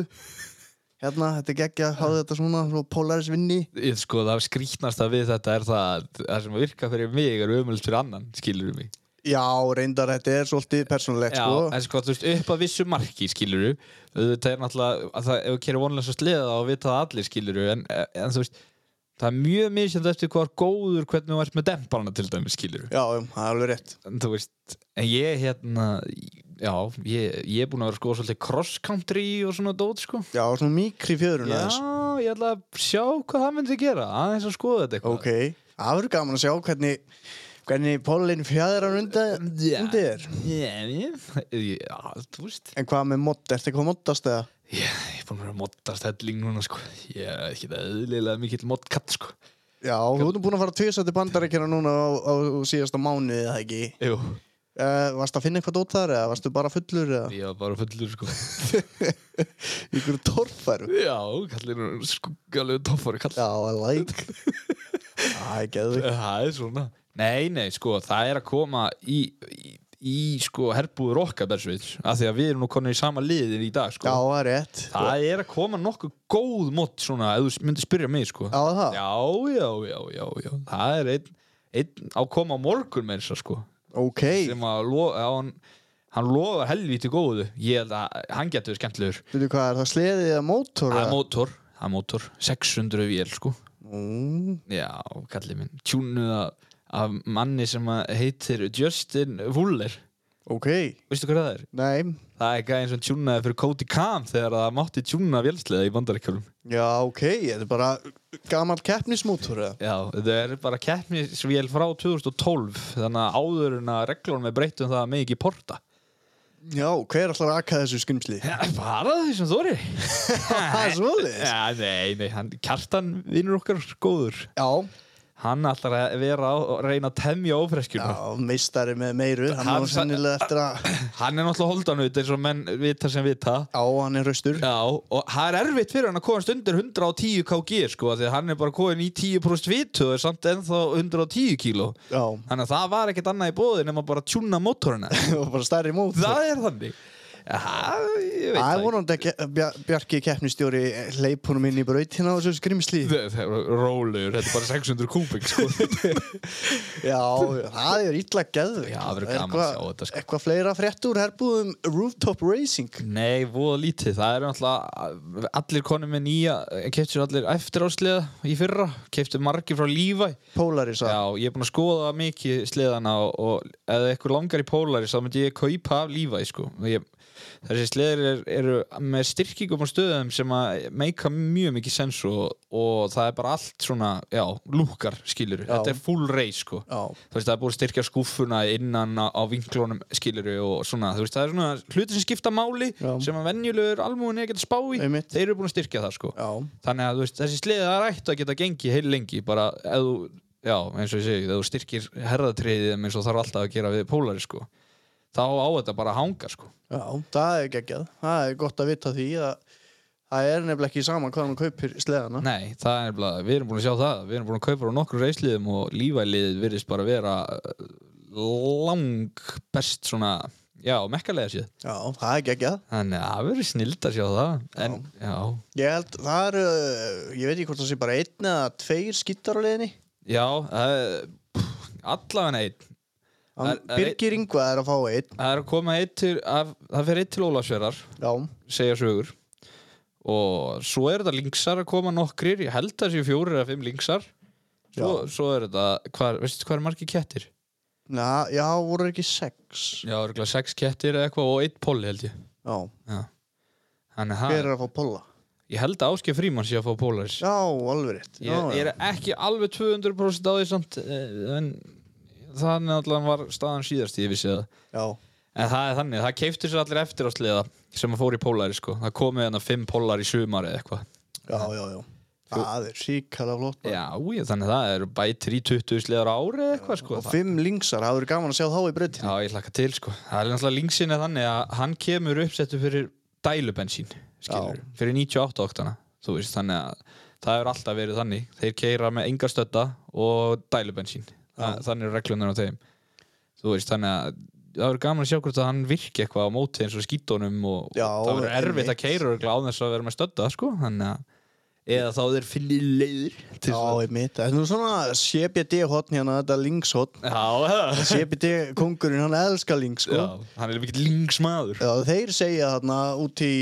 [SPEAKER 1] hérna, þetta er geggja, hafa þetta svona svo Polaris vinni,
[SPEAKER 2] Ég, sko, það skrýtnasta við þetta er það að það sem virka fyrir mig er umöld fyrir annan, skilur mig.
[SPEAKER 1] já, reyndar þetta er svolítið persónulegt,
[SPEAKER 2] Já,
[SPEAKER 1] sko
[SPEAKER 2] en sko, þú veist, upp að vissu marki, skilur við, þetta er náttúrulega, að það, ef þú kerir vonlega svo sleða þá vita það allir, skilur við, en, en þú veist, það er mjög misjönd eftir hvað er góður hvernig þú ert með dembarana til dæmis, skilur
[SPEAKER 1] já, um, það er alveg rétt
[SPEAKER 2] en þú veist, en ég hérna já, ég, ég er búin að vera sko svolítið cross country og svona dót sko
[SPEAKER 1] já, svona mikri fjörun
[SPEAKER 2] já,
[SPEAKER 1] aðeins
[SPEAKER 2] ég ætla að sjá hvað það myndi gera aðeins að skoða þetta eitthvað
[SPEAKER 1] ok, það verður gaman að sjá hvernig hvernig Pólin fjæðrar undir,
[SPEAKER 2] Já.
[SPEAKER 1] undir þér
[SPEAKER 2] yeah, já, þú veist
[SPEAKER 1] en hvað með modd, ertu eitthvað moddast eða
[SPEAKER 2] ég, ég er búin að vera að moddast helling núna sko ég er ekki það eðlilega mikill moddkatt sko
[SPEAKER 1] já, þú ert nú búin að fara tvisandi bandarækjana núna á, á, á síðasta mánuði, eða ekki
[SPEAKER 2] Jú,
[SPEAKER 1] Uh, varst að finna eitthvað dót þar eða varstu bara fullur eða
[SPEAKER 2] ég var bara fullur sko
[SPEAKER 1] í ykkur torfæru?
[SPEAKER 2] já, kallir nú skuggalegu toffari kall
[SPEAKER 1] Já, I like. Æ, geðu.
[SPEAKER 2] Eh, Það er svona Nei, nei, sko, það er að koma í, í, í sko, herbúður okkar Bersvits, af því að við erum nú konir í sama liðin í dag,
[SPEAKER 1] Já,
[SPEAKER 2] sko
[SPEAKER 1] það er rétt.
[SPEAKER 2] Það er að koma nokkuð góð mót svona, ef þú myndir spyrja mig, sko
[SPEAKER 1] Já, það.
[SPEAKER 2] já, já, já, já, já. Það er einn, einn á koma á morgun með þess að sko
[SPEAKER 1] Ok,
[SPEAKER 2] sem að lofa, hann, hann lofar helvíti góðu ég held að hann getur verið skemmtilegur
[SPEAKER 1] veitu hvað, er það sleðið eða mótor?
[SPEAKER 2] Það er
[SPEAKER 1] eða?
[SPEAKER 2] mótor, það er mótor 600 vél, sko
[SPEAKER 1] Mm,
[SPEAKER 2] Já, kallið minn, tjúnuð af, af manni sem að heitir Justin Wooler.
[SPEAKER 1] ok,
[SPEAKER 2] Veistu hvað það er?
[SPEAKER 1] nei,
[SPEAKER 2] Það er gæðin sem tjúnaði fyrir Cody Kam þegar það mátti tjúna vélslega í bandaríkjálum.
[SPEAKER 1] já, ok, þetta er bara gammal keppnismótor eða?
[SPEAKER 2] Já, þetta er bara keppnisvél frá 2012, þannig að áður en að reglunum er breytt um það að megi ekki porta.
[SPEAKER 1] Já, hver ætlar að akka þessu skrimsli?
[SPEAKER 2] Ja, bara því sem þóri
[SPEAKER 1] Það er svolítið.
[SPEAKER 2] ja, Nei, nei, hann, kjartan vinnur okkar góður
[SPEAKER 1] Já,
[SPEAKER 2] Hann ætlar að vera á, að reyna að temja
[SPEAKER 1] já,
[SPEAKER 2] ófreskjuna
[SPEAKER 1] meistari með meiru, hann á
[SPEAKER 2] Hann sa-
[SPEAKER 1] sennilega eftir að,
[SPEAKER 2] Hann er náttúrulega holdanut eins og menn vita sem vita
[SPEAKER 1] já, hann er raustur.
[SPEAKER 2] Já, og það er erfitt fyrir hann að komast undir 110 kg sko, af því að hann er bara komin í 10% vitu og er samt ennþá 110 kg
[SPEAKER 1] Já,
[SPEAKER 2] Þannig að það var ekkert annað í bóði nema bara að tjúna mótorina
[SPEAKER 1] og bara stærri mót.
[SPEAKER 2] Það er þannig Það, ég
[SPEAKER 1] Það
[SPEAKER 2] veit
[SPEAKER 1] er
[SPEAKER 2] það
[SPEAKER 1] vonandi að Ke- Bjar- Bjarki keppnistjóri leip honum inn í brautina á þessu skrimsli.
[SPEAKER 2] ekki Það er rólegur, þetta er bara 600 kúbik sko.
[SPEAKER 1] Já, það er illa geðvig.
[SPEAKER 2] Já, það verður gaman að sjá þetta, sko.
[SPEAKER 1] Eitthvað fleira frétt úr herbúðum Rooftop Racing.
[SPEAKER 2] Nei, voða lítið, það er náttúrulega allir konum með nýja, keftur allir eftir ásliða í fyrra, keftur margir frá lífæ
[SPEAKER 1] Polaris að.
[SPEAKER 2] Já, ég er búinn að skoða mikið sleðana og, og eða eitthvað langar í Polaris þá myndi ég kaupa af Levi sko. ég, þessi sleðir er, eru með styrkingum á stöðum sem að meika mjög mikið sens og, og það er bara allt svona, já, lúkar skilur,
[SPEAKER 1] Já.
[SPEAKER 2] þetta er full race sko.
[SPEAKER 1] Já,
[SPEAKER 2] þú veist, það er búið að styrkja skúfuna innan á, á vinklunum skilur og svona, þú veist, það er svona hluti sem skipta máli
[SPEAKER 1] Já.
[SPEAKER 2] sem að venjulegur almúin er að geta spá í,
[SPEAKER 1] Einmitt.
[SPEAKER 2] þeir eru búin að styrkja það sko
[SPEAKER 1] já,
[SPEAKER 2] þannig að þú veist, þessi sliðið það er ætti að geta gengið heil lengi bara ef þú, já, eins og ég segi, ef þú styrkir herðatriðið þeim eins og þarf alltaf að gera við pólari sko, þá á þetta bara að hanga sko,
[SPEAKER 1] já, það er geggjað. Það er gott að vita því að það er nefnilega ekki sama hvað hann kaupir sleðana.
[SPEAKER 2] nei, það er bara við erum búin að sjá það, við erum búin að kaupa á nokkur reisliðum og lífæliðið virðist bara vera eh, lang best svona, já, mekkalega séð
[SPEAKER 1] Já, það er geggjað.
[SPEAKER 2] þannig að það verður snild að sjá það en, já,
[SPEAKER 1] Ég held, það eru, uh, ég veit ekki hvort það sé bara einn eða tveir skittar á leiðinni.
[SPEAKER 2] já, já allavega neitt
[SPEAKER 1] Hann,
[SPEAKER 2] Það er- það er
[SPEAKER 1] Birgir Ingvað er að fá einn.
[SPEAKER 2] það er að koma eitt til, að, það fer eitt til Ólafsverðar
[SPEAKER 1] Já,
[SPEAKER 2] segja sögur og svo er þetta linksar að koma nokkrir ég held að séu fjórir eða fimm linksar svo, svo er þetta, hvað, veistu hvað er margir kettir?
[SPEAKER 1] na, já, voru ekki sex.
[SPEAKER 2] Já, örgulega sex kettir eða eitthvað og eitt polli held ég
[SPEAKER 1] Já,
[SPEAKER 2] Já. Þannig að
[SPEAKER 1] hver
[SPEAKER 2] það-
[SPEAKER 1] er að fá polla?
[SPEAKER 2] ég held að Áskei Frímann sé að fá polaris
[SPEAKER 1] Já, alveg rétt. Já,
[SPEAKER 2] ég, ég er ekki alveg 200% á því samt eh, en þannig allan var staðan síðast ég vissi það
[SPEAKER 1] já, já,
[SPEAKER 2] En það er þannig, það keiftu sér allir eftir á sliða sem að fór í pólari sko. Það komið hann að fimm pólar í sumar eða eitthvað.
[SPEAKER 1] já, já. já. Það er síkala flott. bara.
[SPEAKER 2] Já, ég, þannig að það eru bætir í 20 sliðar ári eða eitthvað sko.
[SPEAKER 1] Og fimm linksar, það verður gaman að sjá þá í
[SPEAKER 2] Já,
[SPEAKER 1] breytinu.
[SPEAKER 2] ég hlakka til sko. Það er náttúrulega linksin eða þannig að hann kemur uppsettu fyrir dælubensín, skilur, fyrir 98 oktana, þú veist, þannig að það hefur alltaf verið þannig. Þeir keira með enga stötta og dælubensín. Þa, þannig eru reglunar á þeim. Þú veist, þannig að það verður gaman að sjá hvort að hann virki eitthvað á móti eins og skítunum og
[SPEAKER 1] Já,
[SPEAKER 2] og það verður erfitt
[SPEAKER 1] einmitt.
[SPEAKER 2] að keira örugglega á þess að vera með stötta, sko, þannig að eða þá þeir finni leiðir til
[SPEAKER 1] Já,
[SPEAKER 2] þess að-
[SPEAKER 1] ég mitt. Það er nú svona CBD-hotn hérna, þetta lingshotn.
[SPEAKER 2] Já,
[SPEAKER 1] CBD-kongurinn, hann elskar links, sko.
[SPEAKER 2] Já, hann er mikill lingsmaður
[SPEAKER 1] Já, þeir segja þarna út í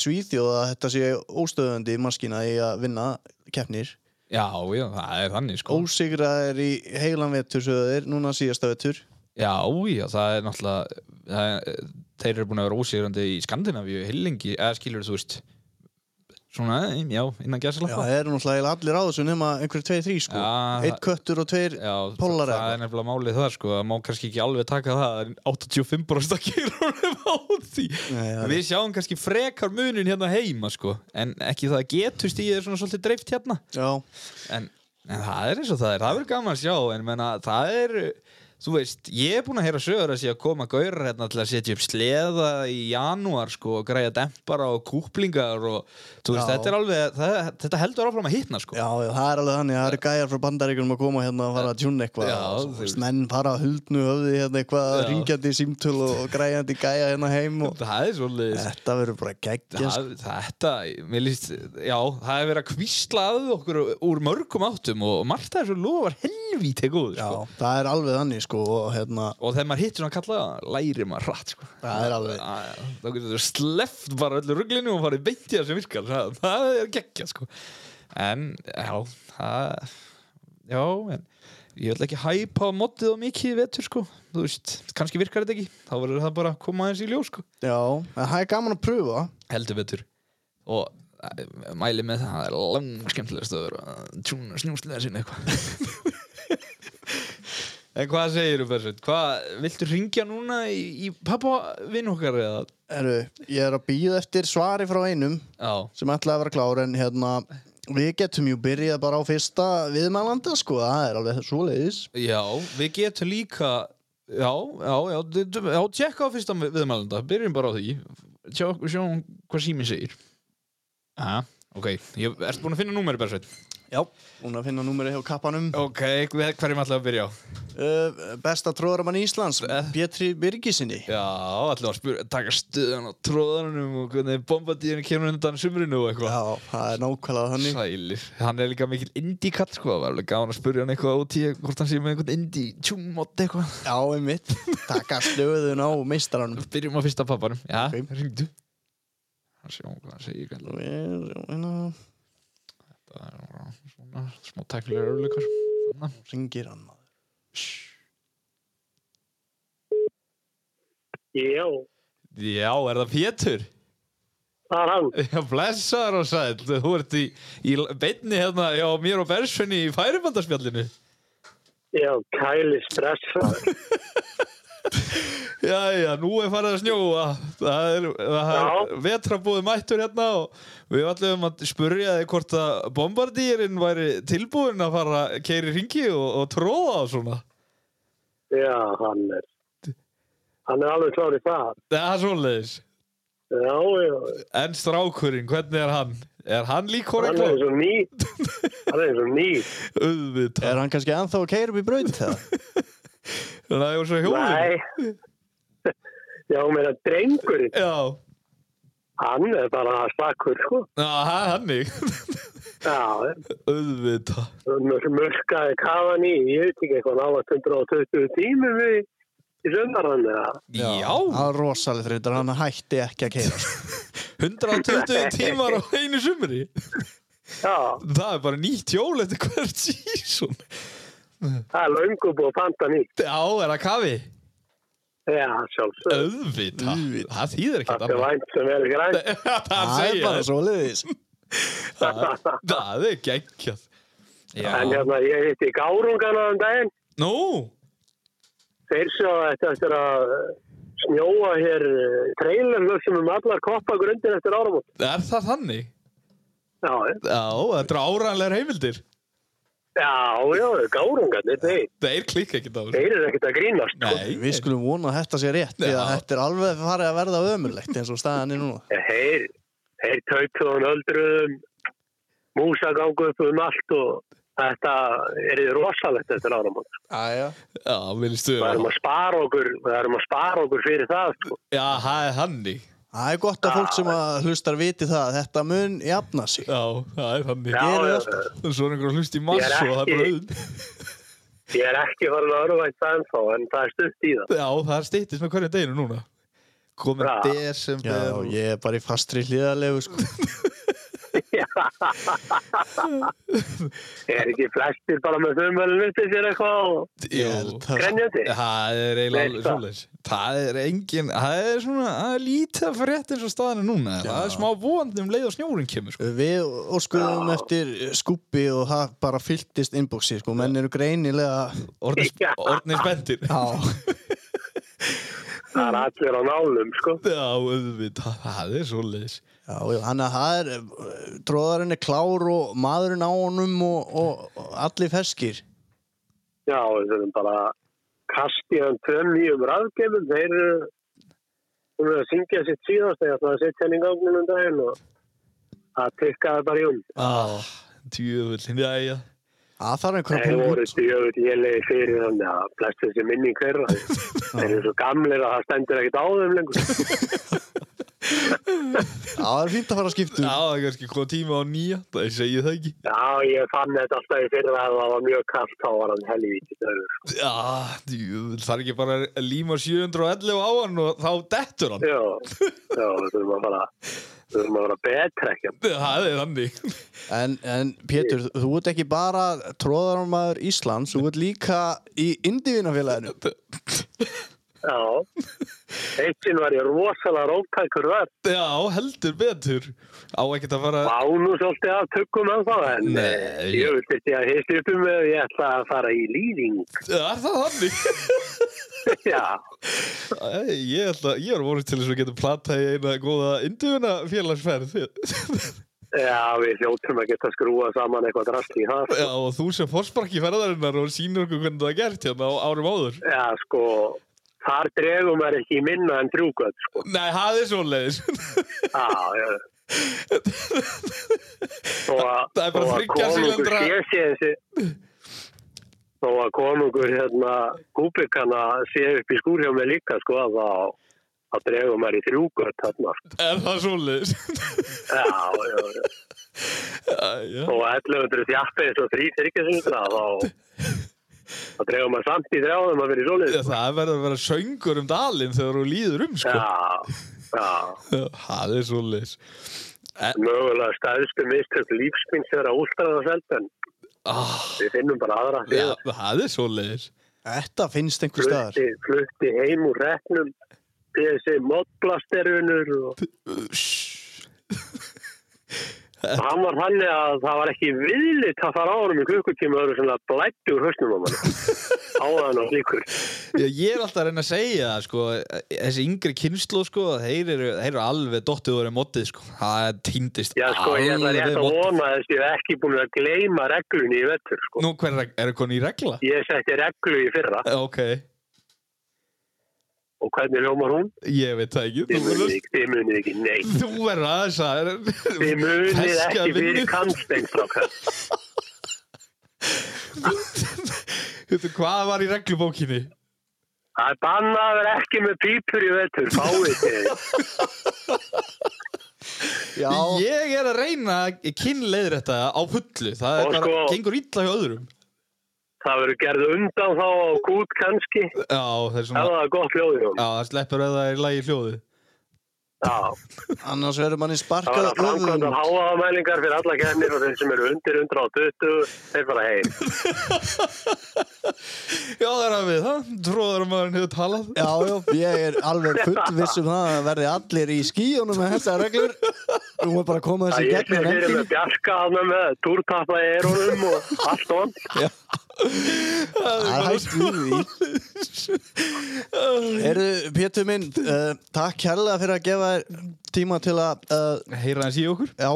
[SPEAKER 1] Svíþjóð að þetta sé óstöðandi maskina í að vinna keppnir.
[SPEAKER 2] Já, já, það er þannig sko
[SPEAKER 1] Ósigraðir í heilan vetur sögðir, núna síðasta vetur.
[SPEAKER 2] Já, já, það er náttúrulega það er, Þeir eru búin að vera ósýrandi í Skandinavíu Hillingi, eða skilur þú veist Svona, já, innan
[SPEAKER 1] Já,
[SPEAKER 2] gæsalappa
[SPEAKER 1] það eru náttúrulega allir á þessu nema einhver tveir þrý, sko.
[SPEAKER 2] Já,
[SPEAKER 1] Eitt köttur og tveir
[SPEAKER 2] Já, þa-
[SPEAKER 1] Pólar
[SPEAKER 2] það er nefnilega málið þar sko, það má kannski ekki alveg taka það en 85% að gera honum á því
[SPEAKER 1] Nei, já.
[SPEAKER 2] Við sjáum kannski frekar munin hérna heima sko, en ekki það að getur stíðið er svona svolítið dreift hérna
[SPEAKER 1] Já,
[SPEAKER 2] en, en það er eins og það er það verður gaman að sjá en menna, það er þú veist, ég er búinn að heyra sögur að sé að koma gaurar hérna til að setja upp sleða í janúar sko og græja dempara og kúplingar og þú
[SPEAKER 1] Já.
[SPEAKER 2] veist, þetta er alveg það, þetta heldur áfram að hitna sko
[SPEAKER 1] já, já, það er alveg þannig, það eru gæjar frá bandaríkunum að koma hérna að fara að tjúna eitthvað
[SPEAKER 2] Já,
[SPEAKER 1] og svo,
[SPEAKER 2] þú veist.
[SPEAKER 1] menn fara að huldnu höfði hérna eitthvað,
[SPEAKER 2] Já.
[SPEAKER 1] ringjandi símtöl og og græjandi gæja hérna heim og
[SPEAKER 2] það er svolítið
[SPEAKER 1] þetta verður bara sko. geggja
[SPEAKER 2] Það, þetta, mér líst, já, það er verið að kvísla að okkur úr mörgum áttum og Marta er svo lofar helvíti góð,
[SPEAKER 1] Já,
[SPEAKER 2] sko.
[SPEAKER 1] það er alveg þannig sko og hérna,
[SPEAKER 2] Og þegar maður hittir svona kalla, lærir maður hratt, sko.
[SPEAKER 1] það er alveg
[SPEAKER 2] Æ, þá getur þú sleppt bara öllu ruglinu og farið beint í það sem virkar það, það er geggja sko en já það, já en ég vil ekki hæpa á mótið og mikið í vetur sko, þú veist, kannski virkar þetta ekki þá verður það bara að koma aðeins í ljós sko
[SPEAKER 1] Já, en það er gaman að pröfa
[SPEAKER 2] heldur vetur og æ, mæli með það, það er lang skemmtilegast að vera að tjúna snjúslega sinni eitthvað En hvað segir þú, Bersveit? Hvað, viltu ringja núna í, í pappa vinn okkar eða?
[SPEAKER 1] Herru, ég er að býða eftir svari frá einum
[SPEAKER 2] Já,
[SPEAKER 1] sem ætlaði að vera klár en hérna við getum jú byrjað bara á fyrsta viðmælanda sko, það er alveg svoleiðis
[SPEAKER 2] já, við getum líka, já, já, já, d- d- já, tjekka á fyrsta vi- viðmælanda, byrjum bara á því, sjá, sjáum hvað síminn segir. Aha, ok, ég, ertu búin að finna númeri, Bersveit?
[SPEAKER 1] Já, hún að finna númeri hjá kappanum
[SPEAKER 2] Ok, hver- hverjum ætlaði að byrja á?
[SPEAKER 1] uh, Besta tróðramann Íslands,
[SPEAKER 2] Eh.
[SPEAKER 1] Pétri Birgisinni
[SPEAKER 2] Já, ætlaði að spyrja, taka stuðan á tróðanum og hvernig bombadíðinu kemur undan sumrinu og eitthvað.
[SPEAKER 1] Já, það er nákvæmlega þannig
[SPEAKER 2] Sælir, hann er líka mikil indie katt sko, það var alveg gaman að spurja hann eitthvað út í hvort hann sé með einhvern indie tjúmmott eitthvað
[SPEAKER 1] Já, einmitt, taka slöðun á meistaranum
[SPEAKER 2] Byrjum á fyrsta pappanum, já,
[SPEAKER 1] Ok.
[SPEAKER 2] ringdu Hann sé hvað hann segir gæla
[SPEAKER 1] Og ég- hérna,
[SPEAKER 2] Það er bara svona smá tæknilega örlökar Þannig,
[SPEAKER 1] Ringir hann maður.
[SPEAKER 3] Já,
[SPEAKER 2] já, er það Pétur?
[SPEAKER 3] það er hann.
[SPEAKER 2] Já, blessaður og sæll, þú ert í, í beinni hérna, já, mér og Bersvinni í færibandarspjallinu
[SPEAKER 3] Já, kæli stressaður.
[SPEAKER 2] Já, já, nú er farið að snjóa Það er, það er
[SPEAKER 3] Já.
[SPEAKER 2] vetrabúið mættur hérna og við ætlum að spurja þig hvort að bombardýrin væri tilbúin að fara að keiri ringi og, og tróða og svona
[SPEAKER 3] Já, hann er. Hann er alveg klár í það.
[SPEAKER 2] Það er svoleiðis
[SPEAKER 3] Já, já.
[SPEAKER 2] En strákurinn, hvernig er hann? Er hann líkur
[SPEAKER 3] Hann er
[SPEAKER 2] eitthvað?
[SPEAKER 3] eins og ný. Hann er eins og ný.
[SPEAKER 2] Auðvitað
[SPEAKER 1] Er hann kannski ennþá að keira upp í braut það?
[SPEAKER 2] Þannig að það er svo hjólinn
[SPEAKER 3] Nei. Já, hún meina drengurinn.
[SPEAKER 2] Já,
[SPEAKER 3] Hann er bara slakur, sko.
[SPEAKER 2] Já, það er hannig
[SPEAKER 3] Já,
[SPEAKER 2] Auðvitað
[SPEAKER 3] mör- mörkaði kafan í, ég veit ekki eitthvað, nála 120 tímum í, í sundarann eða.
[SPEAKER 2] Já,
[SPEAKER 1] Það er rosalega þrjóttur, hann hætti ekki að sko. keira
[SPEAKER 2] 120 tímar á einu sumri
[SPEAKER 3] Já,
[SPEAKER 2] Það er bara nýtt hjól eftir hvert sísón
[SPEAKER 3] það er löngu búið að panta nýtt.
[SPEAKER 2] Já, er það kafi?
[SPEAKER 3] Já, sjálfsög.
[SPEAKER 2] Auðvita.
[SPEAKER 1] Auðvitað.
[SPEAKER 2] Það þýðir ekkert
[SPEAKER 3] Það er vænt sem er grænt.
[SPEAKER 2] Það
[SPEAKER 1] Það er
[SPEAKER 2] segja
[SPEAKER 1] bara
[SPEAKER 2] þess.
[SPEAKER 1] svoleiðis
[SPEAKER 2] Það- Það er geggjað.
[SPEAKER 3] En
[SPEAKER 2] Já.
[SPEAKER 3] hérna, ég hitti Gárungana um daginn.
[SPEAKER 2] Nú,
[SPEAKER 3] Þeir sjá þetta eftir að eh, snjóa hér treylarlöksum um allar koppagrundir eftir áramót.
[SPEAKER 2] er það þannig?
[SPEAKER 3] Já, eh.
[SPEAKER 2] Já, þetta eru áræðanlegar heimildir.
[SPEAKER 3] já, já, Gárungarnir, þeir,
[SPEAKER 2] Þeir klikka ekkert á þessu.
[SPEAKER 3] þeir eru ekkert að grínast. sko.
[SPEAKER 2] Nei.
[SPEAKER 1] Við skulum vona að þetta sé rétt því að
[SPEAKER 2] Já.
[SPEAKER 1] þetta er alveg farið að verða ömurlegt eins og staðan er núna
[SPEAKER 3] Eh, Þeir, þeir tautluðan öldruðum, músagangu upp um allt og þetta er rosalegt eftir áramót. sko.
[SPEAKER 1] Æja
[SPEAKER 2] Já, vilstu.
[SPEAKER 3] Það erum að spara okkur, það erum að spara okkur fyrir það, sko.
[SPEAKER 2] Já, það er hannig.
[SPEAKER 1] Það er gott að fólk sem að hlustar viti það að þetta mun jafna sig
[SPEAKER 2] Já, það er hannig.
[SPEAKER 3] Já,
[SPEAKER 1] Gerið
[SPEAKER 3] já,
[SPEAKER 1] alltaf.
[SPEAKER 3] já.
[SPEAKER 2] Og svo er einhver hlust í mars
[SPEAKER 3] Ég er
[SPEAKER 2] og það er bara
[SPEAKER 3] ekki-
[SPEAKER 2] auð.
[SPEAKER 3] ég er ekki farin að örvænt það ennþá, en það er stutt í það.
[SPEAKER 2] Já, það er stýttist með hverju deginu núna. Komin
[SPEAKER 3] Já.
[SPEAKER 2] desember.
[SPEAKER 1] Já,
[SPEAKER 2] og-
[SPEAKER 1] ég er bara í fastri hlýðarlegu sko.
[SPEAKER 3] Er ekki flestir bara með þumölinu til sér eitthvað og
[SPEAKER 1] Ég
[SPEAKER 2] Jú.
[SPEAKER 1] held það, sko.
[SPEAKER 3] grenjandi?
[SPEAKER 2] Það er eiginlega alveg
[SPEAKER 3] Veist það.
[SPEAKER 2] svoleiðis. Það er engin, það er svona, það er lítið að frétt eins og staðan er núna. Það er smá vonandi um leið og snjórin kemur, sko.
[SPEAKER 1] Við óskuðum eftir skúpi og það bara fylltist inboxi sko. menn eru greinilega
[SPEAKER 2] Orðnir,
[SPEAKER 3] Já.
[SPEAKER 2] orðnir spendir.
[SPEAKER 1] Já,
[SPEAKER 3] Það er allir á nálum, sko.
[SPEAKER 2] Já, auðvitað, það er svoleiðis.
[SPEAKER 1] já, já, hann að það er eh, tróðarinn er klár og maðurinn á honum og, og, og allir ferskir
[SPEAKER 3] Já, við þurfum bara að kasta í hann tveim nýjum rafgeimum. Þeir eru hún er að syngja sitt síðast þegar það setja hann í gangunum um daginn og það tikkaði bara í hún.
[SPEAKER 2] Ah, djöfull, já, já.
[SPEAKER 1] Það þarf einhverja
[SPEAKER 3] Þeir
[SPEAKER 1] púl-
[SPEAKER 3] voru stjöfull lélegi fyrir þannig að flestu þessi minning hverra. Þeir eru svo gamlir að það stendur ekkert á þeim lengur.
[SPEAKER 1] Já, það er fínt að fara að skipta
[SPEAKER 2] Já,
[SPEAKER 1] um.
[SPEAKER 2] það er kannski komað tíma á nýja, það ég segi það ekki.
[SPEAKER 3] Já, ég fann þetta alltaf í fyrra að það var mjög kallt, þá var hann helvítið dröður.
[SPEAKER 2] Já, djöfull, það er ekki bara að líma 711 á hann og þá dettur hann.
[SPEAKER 3] Já, já, við þurfum að fara, við þurfum að fara betra ekki.
[SPEAKER 2] Það er þannig.
[SPEAKER 1] En, en Pétur, þú ert ekki bara tróðarmaður Íslands, þú ert líka í Indivinafélaginu.
[SPEAKER 3] Já. Eitt sinn var ég rosalega róttækur verð.
[SPEAKER 2] Já, heldur betur Á ekkert að fara
[SPEAKER 3] Vá nú svolítið að tökum en það, en
[SPEAKER 2] Nei,
[SPEAKER 3] eh, ég vil þetta ég að hýst upp um með að ég ætla að fara í lýðing.
[SPEAKER 2] Er það þannig?
[SPEAKER 3] Já,
[SPEAKER 2] Æ, Ég, ætla, ég er vonið til þess að geta plata í eina góða induvina félagsferð Já,
[SPEAKER 3] já, við hljóttum að geta skrúa saman eitthvað drast í það.
[SPEAKER 2] og þú sem fórsparki ferðarinnar og sýnir okkur hvernig það er gert hérna á árum áður
[SPEAKER 3] Já, sko, þar dregum er ekki minna en drjúkvöld, sko.
[SPEAKER 2] Nei, það er svo leiðis
[SPEAKER 3] Já, já. Þó að-
[SPEAKER 2] Það er bara
[SPEAKER 3] þó að
[SPEAKER 2] þriggja
[SPEAKER 3] konungur
[SPEAKER 2] sílindra-
[SPEAKER 3] sé sé þessi þó að konungur hérna kúbikana sé upp í skúr hjá mig líka sko að þá þá dregum maður í þrjúkvöld þarna sko.
[SPEAKER 2] Er það svo leiðis?
[SPEAKER 3] já, já, já.
[SPEAKER 2] Já,
[SPEAKER 3] og 1100 þjappi eins og þrý þryggjasundra þá þá dregum maður samt í þrjáðum að vera í sólið sko.
[SPEAKER 2] það verður að vera söngur um dalinn þegar þú líður um sko
[SPEAKER 3] já, já
[SPEAKER 2] Það er svo leiðis
[SPEAKER 3] mögulega staðstu mistök lífsminn þegar að úlstraða selv en við finnum bara aðra
[SPEAKER 2] Ah, Já, það er svo leiðis
[SPEAKER 1] Þetta finnst einhver staðar.
[SPEAKER 3] flutti, flutti heim úr reknum þessi modblasterunur og og hann var þannig að það var ekki viðlitt að fara á honum í klukkutíma öðru sem það blætti úr hausnum á manni áðan og líkur
[SPEAKER 2] Já, ég er alltaf að reyna að segja það, sko, þessi yngri kynslu, sko, þeir eru, þeir eru alveg dottið voru mótið, sko, það týndist
[SPEAKER 3] já sko ég ætla rétt að vona að þessi er ekki búin að gleyma reglunni í vettur sko
[SPEAKER 2] Nú, hver er, er konu í regla?
[SPEAKER 3] ég setti reglu í fyrra
[SPEAKER 2] Ok,
[SPEAKER 3] og hvernig ljómar hún?
[SPEAKER 2] ég veit það ekki,
[SPEAKER 3] þið
[SPEAKER 2] þú
[SPEAKER 3] munið
[SPEAKER 2] verður,
[SPEAKER 3] ekki, þið munið ekki neitt
[SPEAKER 2] þú verður aðeins að
[SPEAKER 3] þið munið
[SPEAKER 2] Ferska
[SPEAKER 3] ekki
[SPEAKER 2] vinnu.
[SPEAKER 3] fyrir kantstengstrákar
[SPEAKER 2] Þú, hvað var í reglubókinni?
[SPEAKER 3] Það er bannað að vera ekki með pípur í vettur, fáið þið.
[SPEAKER 1] Já,
[SPEAKER 2] Ég er að reyna að kynleiðir þetta á fullu, það
[SPEAKER 3] Og
[SPEAKER 2] er bara,
[SPEAKER 3] sko-
[SPEAKER 2] gengur illa hjá öðrum.
[SPEAKER 3] Það verður gerð undan þá á gút kannski,
[SPEAKER 2] Já, það er
[SPEAKER 3] ef
[SPEAKER 2] svona,
[SPEAKER 3] það er gott hljóðið
[SPEAKER 2] já,
[SPEAKER 3] hún.
[SPEAKER 2] það sleppur að það er lægi hljóðið.
[SPEAKER 3] Já,
[SPEAKER 1] annars verður manni
[SPEAKER 3] það
[SPEAKER 1] sparkað
[SPEAKER 3] verður framkvæmdar
[SPEAKER 1] höfuðum.
[SPEAKER 3] háaðamælingar fyrir alla kemnir og þeir sem eru undir 120, þeir fara heim.
[SPEAKER 2] Já, það er að við, það, tróðar maðurinn hefur talað.
[SPEAKER 1] Já, já, ég er alveg fullviss um það að verði allir í skíunum með þessar reglur. Þú maður bara að koma
[SPEAKER 3] Það
[SPEAKER 1] þessi
[SPEAKER 3] ég sé
[SPEAKER 1] gegnum
[SPEAKER 3] fyrir með
[SPEAKER 1] nefndinni.
[SPEAKER 3] bjarka hana með túrtappa í erunum og allt ond.
[SPEAKER 1] Það er hægt við því. Herðu, Pétur minn, uh, takk kærlega fyrir að gefa þér tíma til að, uh,
[SPEAKER 2] Heyra hans í okkur.
[SPEAKER 1] já,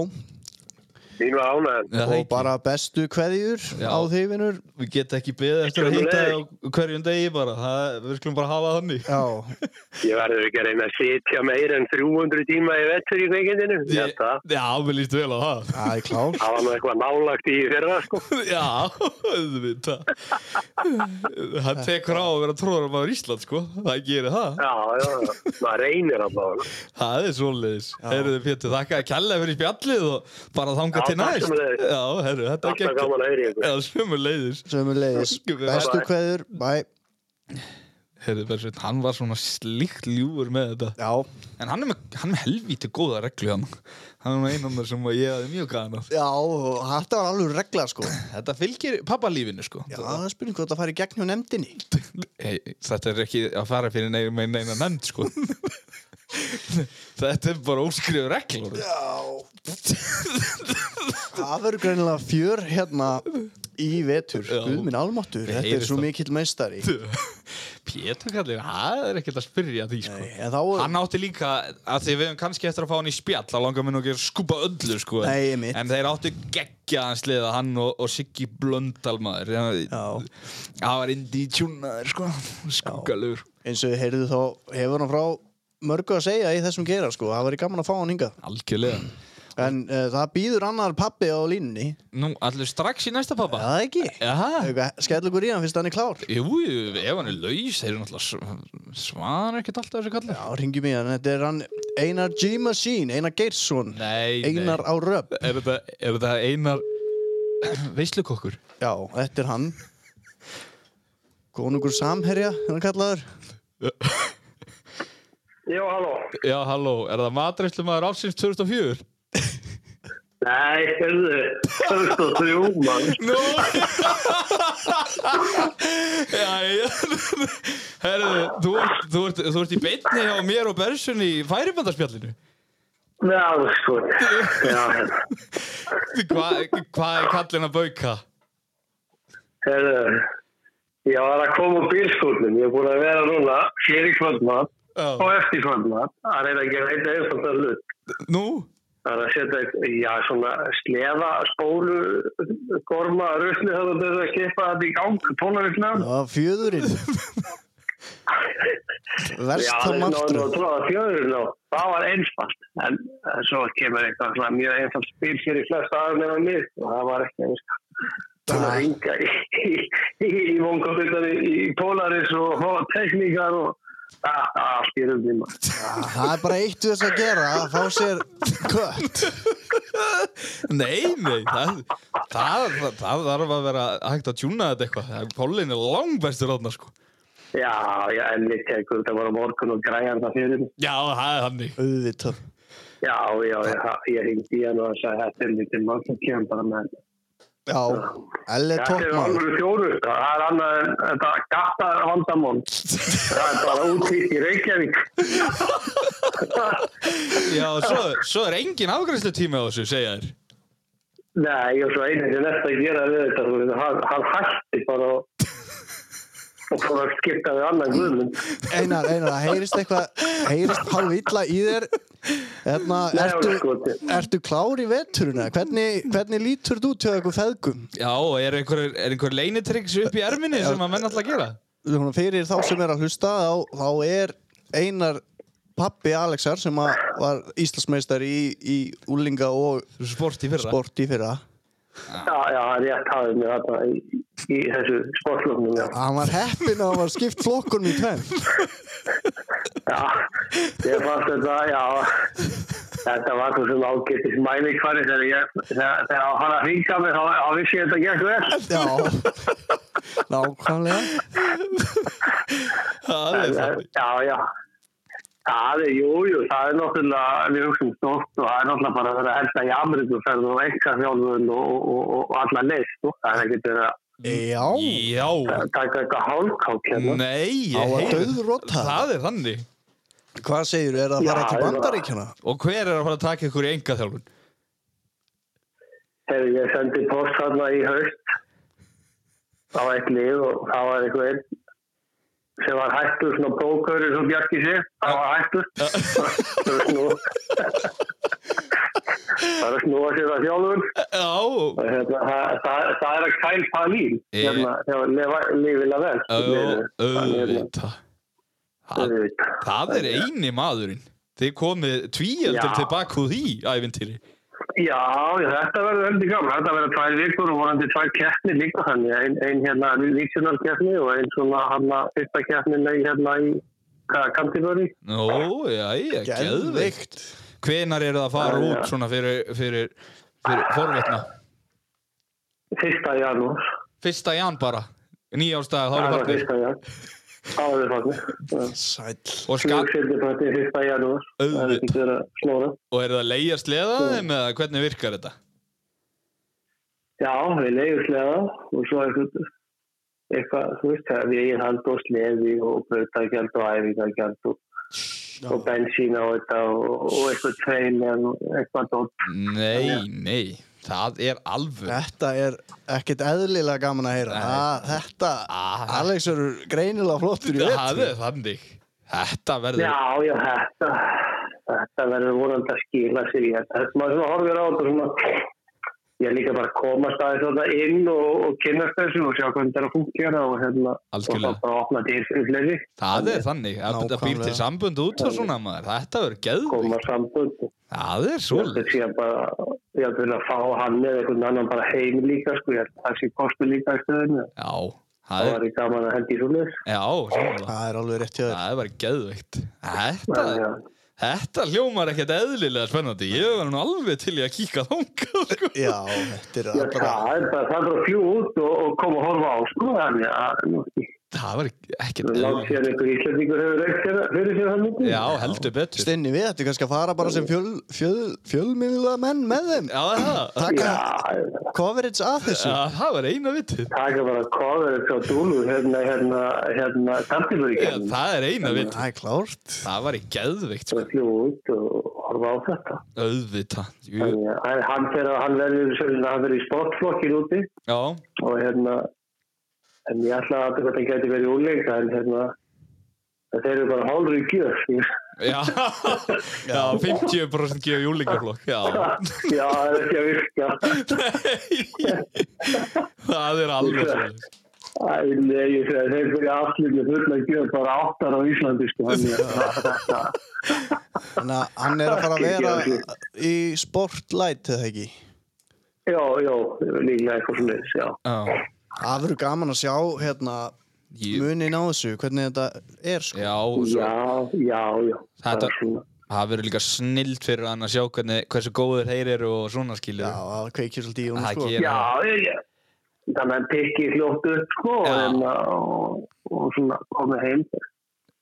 [SPEAKER 3] Mín var ánæðan.
[SPEAKER 2] Já,
[SPEAKER 1] og bara bestu kveðjur
[SPEAKER 2] Já.
[SPEAKER 1] á því, vinnur.
[SPEAKER 2] Við getum ekki beðið eftir að hitta
[SPEAKER 3] Sömuleiðis.
[SPEAKER 2] þig á hverjum degi bara. Það, við skulum bara hafa það þannig.
[SPEAKER 1] Já,
[SPEAKER 3] Ég verður ekki að reyna að sitja meir en 300 tíma í vettur í kveikindinu. Þetta,
[SPEAKER 2] Já, mér líst vel á það.
[SPEAKER 1] það er klár.
[SPEAKER 3] það var nú eitthvað nálagt í fyrra, sko.
[SPEAKER 2] Já, auðvitað. Það tekur á að vera tróðar maður Ísland, sko. Það gerir það.
[SPEAKER 3] Já, já, já. maður reynir allavega.
[SPEAKER 2] Það er svoleiðis. Heyrðu Pétur, þakka að kella fyrir spjallið og bara þanga
[SPEAKER 3] Já,
[SPEAKER 2] til
[SPEAKER 3] takk
[SPEAKER 2] næst.
[SPEAKER 3] sömuleiðis.
[SPEAKER 2] Já, herru, þetta er
[SPEAKER 3] Alltaf gaman að heyra í ykkur.
[SPEAKER 2] Já, sömuleiðis.
[SPEAKER 1] Sömulegis,
[SPEAKER 2] Við-
[SPEAKER 1] bestu
[SPEAKER 3] Bye.
[SPEAKER 1] kveðjur, bæ.
[SPEAKER 2] Heyrðu, Bersveit, hann var svona slíkt ljúfur með þetta.
[SPEAKER 1] Já,
[SPEAKER 2] En hann er með, hann er með helvíti góða reglu hann. Hann er með einan þar sem ég hafði mjög gæðan af.
[SPEAKER 1] já, og þetta var alveg regla, sko.
[SPEAKER 2] Þetta fylgir papparlífinu sko.
[SPEAKER 1] Já, það er spurning hvort það fari í gegnum nefndinni.
[SPEAKER 2] Hey, þetta er ekki að fara fyrir neina, með neina nefnd sko. þetta er bara óskrifur reglur.
[SPEAKER 1] Já. það verður greinilega fjör hérna í vetur,
[SPEAKER 2] Já.
[SPEAKER 1] guðminn almáttur. Þetta er
[SPEAKER 2] heyrist
[SPEAKER 1] svo
[SPEAKER 2] það.
[SPEAKER 1] mikill meistari.
[SPEAKER 2] Pétur kallir, það er ekkert að spyrja því sko.
[SPEAKER 1] Nei, en þá-
[SPEAKER 2] Hann átti líka, að því við höfum kannski eftir að fá hann í spjall, þá langar mér nú ekki að skúpa öllu sko.
[SPEAKER 1] Nei, einmitt.
[SPEAKER 2] en þeir áttu geggjaðan sliða hann og, og Siggi Blöndalmaður.
[SPEAKER 1] Já.
[SPEAKER 2] Það var indi í tjúnaður sko, skuggalur.
[SPEAKER 1] Eins og við heyrðu þá hefur hann frá mörgu að segja í þessum gera, sko. Það verður gaman að fá hann hingað.
[SPEAKER 2] Algjörlega.
[SPEAKER 1] En uh, það býður annar pappi á línunni.
[SPEAKER 2] Nú, allir strax í næsta
[SPEAKER 1] Er
[SPEAKER 2] pappa?
[SPEAKER 1] Það ekki.
[SPEAKER 2] Jaha.
[SPEAKER 1] Eitthvað, Skell okkur í hann fyrst hann er klár.
[SPEAKER 2] Jú, jú, ef hann er laus, þeir eru náttúrulega sv- svara ekkert alltaf þessu kallar.
[SPEAKER 1] Já, ringjum í hann. Þetta er hann Einar G. Machine, Einar Geirsson.
[SPEAKER 2] Nei,
[SPEAKER 1] Einar á röp.
[SPEAKER 2] nei. Er þetta, er þetta einar veislukokkur?
[SPEAKER 1] Já, þetta er hann Konungur Samherja, er hann kallaður
[SPEAKER 3] Já, halló.
[SPEAKER 2] Já, halló, er það matreiflu maður ársins 2004?
[SPEAKER 3] Nei, hérðu, 2003 mann.
[SPEAKER 2] Nú Jæja Herðu, þú ert, þú, ert, þú ert í beinni hjá mér og Bersun í færibandarspjallinu
[SPEAKER 3] Já, sko. Já,
[SPEAKER 2] Hvað hva er kallin að bauka?
[SPEAKER 3] hérðu, ég var að koma úr bílskúrnum. Ég er búin að vera núna fyrir kvöldmatt og
[SPEAKER 2] Já.
[SPEAKER 3] eftir kvöldmatt að reyna að gera eitthvað einfalda hlut.
[SPEAKER 2] Nú?
[SPEAKER 3] Það er að setja, já, svona slefa, spólu, gorma, rusli, það er að kippa þetta í gang, tónarifnum.
[SPEAKER 1] Já, fjöðurinn. Verst
[SPEAKER 3] Já,
[SPEAKER 1] það
[SPEAKER 3] það
[SPEAKER 1] mannstur.
[SPEAKER 3] náðu að fjöðurinn og það var einfalt en eh, svo kemur eitthvað svona mjög einfalt spil hér í flest aðeins meðan mig og það var ekki eins þannig að ringa í, í, í, í vongafittar í, í Polaris og fá tekníkar og ah, allt í röndum
[SPEAKER 1] Það er bara eitt við þess að gera, að fá sér kött.
[SPEAKER 2] Nei, nei Það, það, það þarf að vera hægt að tjúna þetta eitthvað Pólin er langbæstur átna sko
[SPEAKER 3] Já, já, en við tekum þetta bara á morgun og græjar það fyrir mig.
[SPEAKER 2] Já, það er hannig
[SPEAKER 1] Auðvitað.
[SPEAKER 3] Já, já, ég, ég hengdi í hann og sagði þetta er lítið mann sem kemur bara með þetta.
[SPEAKER 1] Já, Elle er
[SPEAKER 3] Þetta er
[SPEAKER 1] toppmál.
[SPEAKER 3] alveg fjóru, það er annað en þetta gatta vandamón. Það er bara úti í Reykjavík.
[SPEAKER 2] Já, svo, svo er engin afgrænslu tími á þessu, segja þér
[SPEAKER 3] Nei, ég er svo einnig sem næst að gera við þetta. þú veist, Hann, hann hætti bara og, og fór að skipta við annan guðmund.
[SPEAKER 1] Einar, einar, það heyrist eitthvað, heyrist hálf illa í þér. Þarna,
[SPEAKER 3] Nei, sko
[SPEAKER 1] ertu,
[SPEAKER 3] skoti.
[SPEAKER 1] ertu klár í veturuna? Hvernig, hvernig lítur þú til eitthvað feðgum?
[SPEAKER 2] Já, er einhver, er einhver leinitryggs upp í erminni sem að menn alltaf gera?
[SPEAKER 1] Svona, Fyrir þá sem er að hlusta, þá, þá er Einar pappi Alexar sem að var Íslandsmeistar í, í úlinga og
[SPEAKER 2] Sport í fyrra
[SPEAKER 1] sport í fyrra.
[SPEAKER 3] Já, já, hann rétt hafið mér þarna í, í þessu sportloknum. Já.
[SPEAKER 1] Hann var heppin að hann var skipt flokkunum í tvenn.
[SPEAKER 3] já, ég fannst þetta, já, þetta var svo sem ágættis mælikvarði þegar, ég- þegar, þegar hann að hringa mig, þá þá vissi ég þetta gekk vel.
[SPEAKER 1] Já, nákvæmlega.
[SPEAKER 2] Það er
[SPEAKER 3] En-
[SPEAKER 2] það
[SPEAKER 3] en- Já, já. Það er, jú, jú, það er náttúrulega, við hugsaum stótt og það er náttúrulega bara að vera að helsta í Ameríku ferð og enga þjálfun og, og, og, og alla leist, sko. Það er ekkert verið að
[SPEAKER 1] Já,
[SPEAKER 2] Já,
[SPEAKER 3] taka eitthvað hálfkák hérna.
[SPEAKER 2] nei
[SPEAKER 1] á
[SPEAKER 2] ég
[SPEAKER 1] að
[SPEAKER 2] heyri-
[SPEAKER 1] döðrota.
[SPEAKER 2] Það er þannig
[SPEAKER 1] Hvað segir þú, er það að fara
[SPEAKER 3] Já,
[SPEAKER 1] til
[SPEAKER 3] já.
[SPEAKER 1] bandaríkjana?
[SPEAKER 2] Og hver er að fara að taka ykkur í enga þjálfun?
[SPEAKER 3] Þegar ég sendi post þarna í haust á eitt lið og það var eitthvað einn sem var hættur svona bókaur eins og Bjarki sé, það var hættur. Það var snúa. Það var snúa sér að þjálfun.
[SPEAKER 2] Já,
[SPEAKER 3] Hérna, það, það, það er að kæl palín
[SPEAKER 2] Ég-
[SPEAKER 3] hérna, lifilega vel
[SPEAKER 2] Ö-
[SPEAKER 3] Hérna,
[SPEAKER 2] auðvitað Það-
[SPEAKER 3] auðvitað.
[SPEAKER 2] Það er eini maðurinn Þið komið tvíöldur
[SPEAKER 3] Já.
[SPEAKER 2] tilbaka úr því ævintýri
[SPEAKER 3] Já, já, þetta verður heldur gaman þetta verður tvær vikur og vonandi tvær keppni líka þannig, ein, ein hérna vísunar keppni og ein svona hérna fyrsta keppni í hérna í Kantiböri
[SPEAKER 2] Nó, jæja, geðveikt Hvenar eru það að fara
[SPEAKER 3] Já, já.
[SPEAKER 2] út svona fyrir, fyrir, fyrir forvetna?
[SPEAKER 3] fyrsta janúar
[SPEAKER 2] Fyrsta ján bara Nýjástæða, þá er
[SPEAKER 3] það var
[SPEAKER 2] farnir
[SPEAKER 3] fyrsta janúar það var fyrsta
[SPEAKER 1] Sæll.
[SPEAKER 2] Og, skal,
[SPEAKER 3] janúar fyrsta janúar það er ekki verið að snóra
[SPEAKER 2] og er það leiðast leðaðum eða hvernig virkar þetta?
[SPEAKER 3] Já, við leiðislega og svo eitthvað, eitthvað þú veist, það er vegirhald og sleði og brautagjald og æfingagjald og, og bensína og þetta og, og eitthvað tvein og eitthvað dótt.
[SPEAKER 2] Nei, nei, það er alveg
[SPEAKER 1] Þetta er ekkert eðlilega gaman að heyra.
[SPEAKER 2] Nei.
[SPEAKER 1] Ah, þetta,
[SPEAKER 2] Ah.
[SPEAKER 1] Alex er greinilega flottur í
[SPEAKER 2] Það
[SPEAKER 1] vetur.
[SPEAKER 2] er þannig Þetta verður
[SPEAKER 3] Já, já, þetta, þetta verður vonandi að skila sér í þetta. Þetta maður svona horfir á þetta og svona, ég er líka bara að komast aðeins þetta inn og, og kynnast þessu og sjá hvernig þetta er að fungera og hérna, og
[SPEAKER 2] Algjörlega.
[SPEAKER 3] það bara opna dyr fyrir fleiri,
[SPEAKER 2] Það er þannig, að þetta býr til
[SPEAKER 1] Nákvæmlega.
[SPEAKER 2] sambund út og svona maður, þetta verður geðvík,
[SPEAKER 3] koma sambund og
[SPEAKER 2] það er
[SPEAKER 3] Þetta
[SPEAKER 2] svolítið.
[SPEAKER 3] sé að bara, ég að vilja fá hann eða einhvern annan bara heim líka, sko, ég held að það sé kostu líka í stöðinu.
[SPEAKER 2] Já,
[SPEAKER 3] Það
[SPEAKER 2] það er,
[SPEAKER 3] var í sko. gaman að hendi svo leis.
[SPEAKER 2] já, sammála.
[SPEAKER 1] Það er alveg rétt hjá þér.
[SPEAKER 2] það er bara geðvíkt. Þetta, þetta hljómar ekkert eðlilega spennandi, ég var nú alveg til í að kíka þangað, sko.
[SPEAKER 1] Já, þetta er
[SPEAKER 3] Já,
[SPEAKER 1] bara...
[SPEAKER 3] það er bara, það er bara að fljú út og, og koma að horfa á, sko, þannig að, nú,
[SPEAKER 2] það var ekkert
[SPEAKER 3] Látt sér einhver íslendingur hefur reykt hérna- fyrir sér hann mikið.
[SPEAKER 2] Já, heldur betur
[SPEAKER 1] Steini, við ættum kannski að fara bara sem fjöl, fjöl, fjölmiðla menn með þeim
[SPEAKER 2] Já, það
[SPEAKER 1] Taka
[SPEAKER 3] Já,
[SPEAKER 1] coverage að þessu
[SPEAKER 2] Já, það var eina vitið
[SPEAKER 3] taka bara kofur frá dúlu hérna, hérna, hérna,
[SPEAKER 2] Já,
[SPEAKER 3] samtífyrir
[SPEAKER 2] það er eina vitið
[SPEAKER 1] Það er klárt
[SPEAKER 2] Það var í geðveikt, sko.
[SPEAKER 3] og fljú út og horfa á þetta.
[SPEAKER 2] auðvitað. Jú.
[SPEAKER 3] Þannig að hann, fer, að- hann verður sérlega, hann verður í sportflokkin úti
[SPEAKER 2] Já,
[SPEAKER 3] og hérna, en ég ætla að þetta geti verið úleika en hérna, en þeir eru bara hálfur í gjöf.
[SPEAKER 2] já, já, 50% gefa júlingaflokk, já.
[SPEAKER 3] Já, það er ekki að virka.
[SPEAKER 2] Nei, það er alveg svolítið.
[SPEAKER 3] Æ, nei, ég segi að þeir fyrir aftur með fulla gjöf bara áttar á Íslandi, sko. Þannig að þetta,
[SPEAKER 1] Þannig að hann er að fara að vera í sportlight eða ekki
[SPEAKER 3] já, já, líklega eitthvað svona, já.
[SPEAKER 2] Já,
[SPEAKER 1] Það verður gaman að sjá hérna
[SPEAKER 2] ég,
[SPEAKER 1] munin á þessu, hvernig þetta er sko.
[SPEAKER 2] já, og svo,
[SPEAKER 3] Já, já, já.
[SPEAKER 2] Þetta-
[SPEAKER 3] það er svona.
[SPEAKER 2] það verður líka snild fyrir hann að sjá hvernig, hversu góður þeir eru og svona
[SPEAKER 1] Já,
[SPEAKER 2] skilur.
[SPEAKER 1] það kveikir svolítið í honum
[SPEAKER 2] Það
[SPEAKER 1] sko.
[SPEAKER 2] gerir-
[SPEAKER 3] Já, ég, ég. Þannig að pikki fljótt upp, sko,
[SPEAKER 2] Já.
[SPEAKER 3] en, og, og svona komið heim.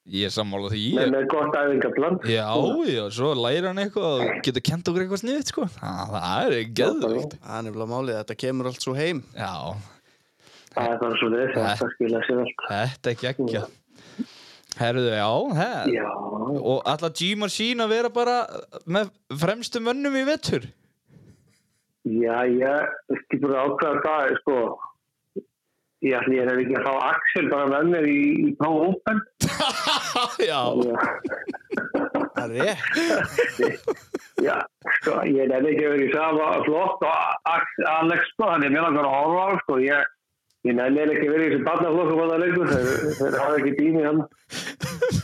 [SPEAKER 2] Ég er sammála því.
[SPEAKER 3] Með,
[SPEAKER 2] Ég,
[SPEAKER 3] með gott æfingaplan.
[SPEAKER 2] já, já, svo lærir hann eitthvað og getur kent okkur eitthvað sniðið, sko. Það, það er geðveikt.
[SPEAKER 1] Það er nefnilega málið að þetta kemur allt svo heim
[SPEAKER 2] Já,
[SPEAKER 3] Það er bara svona þess að það skilja sér allt.
[SPEAKER 2] þetta er geggja. Herðu, já, það.
[SPEAKER 3] Já,
[SPEAKER 2] Og alla Gmar sín að vera bara með fremstu mönnum í vettur
[SPEAKER 3] já, ég er ekki búin að ákveða það, sko. Ég ætla ég er ekki að fá Axel bara með mér í, í Pro Open.
[SPEAKER 2] Já,
[SPEAKER 1] Það er rétt
[SPEAKER 3] Já, sko, ég er ekki að vera í sama flott og Ax- Alex, sko, hann er mér langar að horfa á, sko, ég, ég nenni eiginlega ekki að vera í þessu barnaflokku bóða leikur, þeir, þeir hafa ekki dými hann,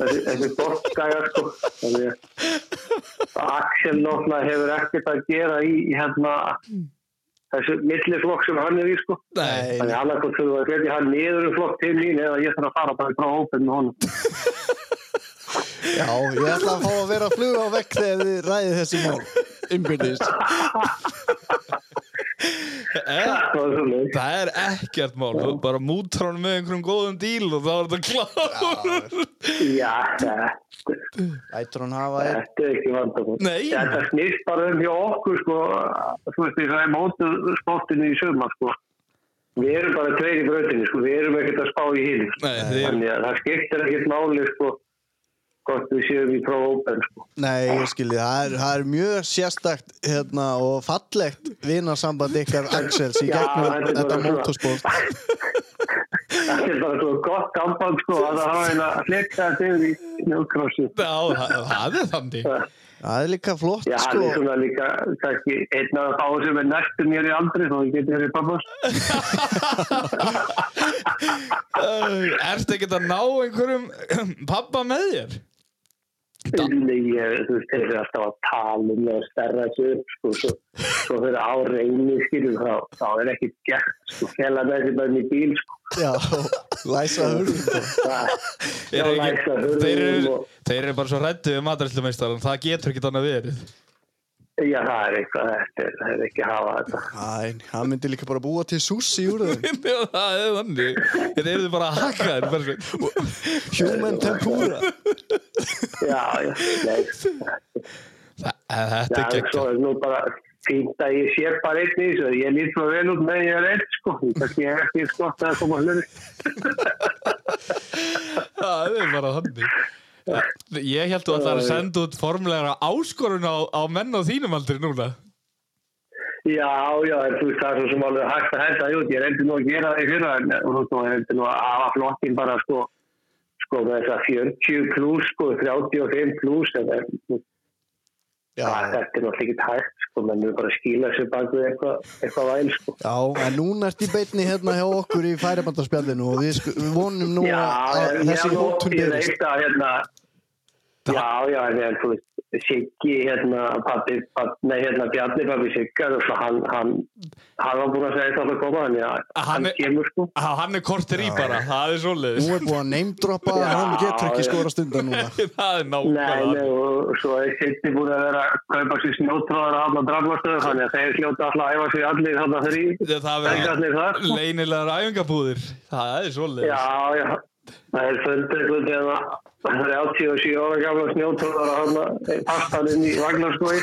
[SPEAKER 3] þessi, þessi bortgæja, sko, þannig að Axel náttúrulega hefur ekkert að gera í, í hérna, þessu milliflokk sem hann er í, sko,
[SPEAKER 2] nei,
[SPEAKER 3] þannig að hann er þurfa að greiði hann niður um flokk til mín eða ég þarf að fara bara í frá hópin með honum.
[SPEAKER 1] Já, ég ætla að fá að vera að fluga á vekk þegar þið ræðið þessi mál Umbyrðist
[SPEAKER 2] e,
[SPEAKER 3] Það var svo leik.
[SPEAKER 2] það er ekkert mál Þú bara mútar hann með einhverjum góðum díl og þá er þetta klár
[SPEAKER 3] Já, þetta.
[SPEAKER 1] Ættur hann hafa þér
[SPEAKER 3] Þetta er ekki vandamál.
[SPEAKER 2] Nei.
[SPEAKER 3] Þetta snýst bara um hjá okkur, sko, þú veist, því það er mótu sportinu í söma, sko. Við erum bara tveir í bröðinni, sko, við erum ekkert að spá í hinn.
[SPEAKER 2] Nei, þið er
[SPEAKER 3] Þannig að það skiptir ekkert máli, sko, hvort við séum í prófópen, sko.
[SPEAKER 1] Nei, ég skilji, það er, það er mjög sérstakt hérna, og fallegt vinarsamband ykkar Axels í gegnum
[SPEAKER 3] þetta er
[SPEAKER 1] þetta
[SPEAKER 3] bara svona.
[SPEAKER 1] motorsport
[SPEAKER 3] Þetta er bara svo gott gamband, sko, að það hafa eina flekta þegar í snjókrossi.
[SPEAKER 2] Já, það- það er þannig
[SPEAKER 1] Það er líka flott
[SPEAKER 3] Já, hann
[SPEAKER 1] sko.
[SPEAKER 3] er svona líka, kannski, einn af þá sem er næstum mér í aldri, þó ég geti verið pappast.
[SPEAKER 2] Æ, Ertu ekkert að ná einhverjum pappa með þér?
[SPEAKER 3] Nei, ég, þú veist, þeir eru alltaf að tala um það stærra þessu upp, sko, svo, svo fyrir á reyni, skiljum, þá, þá er ekkert gert, sko, fjalla þessi bara í bíl, sko,
[SPEAKER 1] Já, og læsa hurðum
[SPEAKER 3] það,
[SPEAKER 2] Er
[SPEAKER 3] já,
[SPEAKER 2] ekki-
[SPEAKER 3] læsa hurðum
[SPEAKER 2] Þeir eru,
[SPEAKER 3] og,
[SPEAKER 2] þeir eru bara svo rættu um aðræslumeistar það getur ekkert annað verið
[SPEAKER 3] já, það er eitthvað, þetta er, það er ekki að hafa þetta.
[SPEAKER 1] Æ, hann myndi líka bara búa til sússi úr þeim
[SPEAKER 2] Já, Það er þannig Þetta eru bara að haka þér bara svo-
[SPEAKER 1] Human tempura
[SPEAKER 3] Já, já, nei,
[SPEAKER 2] Það- Þetta er
[SPEAKER 3] það er
[SPEAKER 2] geggjað
[SPEAKER 3] svo, er nú bara fínt að ég sé bara einn í þessu, ég lít svo vel út með ég er einn, sko, ég kannski er ekki skott að koma hluti.
[SPEAKER 2] Það er bara þannig Eh, Ég held þú að það er að senda út formlegra áskorun á, á menn á þínum aldri núna
[SPEAKER 3] Já, já, en þú veist það er svo sem alveg hægt að henda því út, ég reyndi nú að gera það í fyrra en þú veist, og ég reyndi nú að hafa flottin bara sko, sko með þess að 40 pluss, sko, 35 pluss, en en, þú veist, það-
[SPEAKER 1] Já,
[SPEAKER 3] þetta er náttúrulega ekki hægt, sko, menn við bara skýla sér bak við eitthvað, eitthvað væl, sko.
[SPEAKER 1] já en núna ert í beinni hérna hjá okkur í færibandarspjallinu og við, sku- við vonum nú
[SPEAKER 3] Já,
[SPEAKER 1] að
[SPEAKER 3] en
[SPEAKER 1] þessi
[SPEAKER 3] ég hef
[SPEAKER 1] hóttun
[SPEAKER 3] ég
[SPEAKER 1] byrjist
[SPEAKER 3] reyndi að hérna, já, já, en en, þú veist, Siggi, hérna, pappi, pappi, nei, hérna, Bjarni, pappi Siggar, þú veist, hann, hann, hann var búin að segja þetta að koma, hann, já,
[SPEAKER 2] Hann
[SPEAKER 3] hann
[SPEAKER 2] er-
[SPEAKER 3] kemur, sko.
[SPEAKER 2] Á, Hann er kortir í bara, það er svoleiðis
[SPEAKER 1] Nú er búið að neymdroppa
[SPEAKER 3] Já,
[SPEAKER 1] hann getur ekki
[SPEAKER 3] já.
[SPEAKER 1] skora stundan núna
[SPEAKER 2] Það er
[SPEAKER 3] Nei, nei,
[SPEAKER 2] nákvæmlega
[SPEAKER 3] og svo er Sitti búin að vera að kaupa sér snjótróðar að alla drafmastöðu, þannig að þeir hljóta alltaf að æfa sér allir þannig að þeir í,
[SPEAKER 2] Það
[SPEAKER 3] þeir
[SPEAKER 2] verður
[SPEAKER 3] allir þar. sko.
[SPEAKER 2] leinilegar æfingabúðir Það er svoleiðis
[SPEAKER 3] Já, já, Það er fundu einhvern veginn að 37 ára gamla snjóttóðar að hana pastan inn í vagnarskói.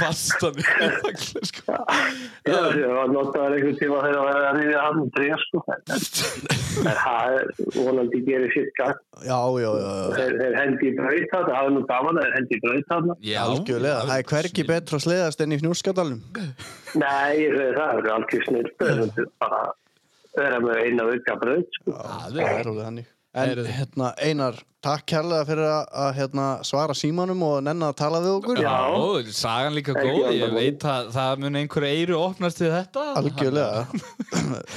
[SPEAKER 2] Fastan í nagla, sko.
[SPEAKER 3] Það notaður einhvern tíma þegar að vera að reyna hann um tré, sko. En það er vonandi gerir sitt gang.
[SPEAKER 1] Já, já, já, já.
[SPEAKER 3] Þeir, þeir hendi í braut þarna, það er nú gaman að þeir hendi í braut þarna.
[SPEAKER 2] Já,
[SPEAKER 1] Algjörlega, það er hvergi betra að sleiðast enn í fjórskadalum.
[SPEAKER 3] Nei, ég segi það, það er alveg snill. Það er bara að vera með eina vika braut, sko.
[SPEAKER 1] Það er alveg hannig. En
[SPEAKER 2] Heyrðu.
[SPEAKER 1] hérna, Einar, takk kærlega fyrir að- að hérna, svara símanum og nenna að tala við okkur.
[SPEAKER 3] Já.
[SPEAKER 2] Ó, sagan líka
[SPEAKER 3] Ekki
[SPEAKER 2] góð, ég
[SPEAKER 3] vandamál.
[SPEAKER 2] veit að það mun einhverju eiru opnast til þetta
[SPEAKER 1] Algjörlega.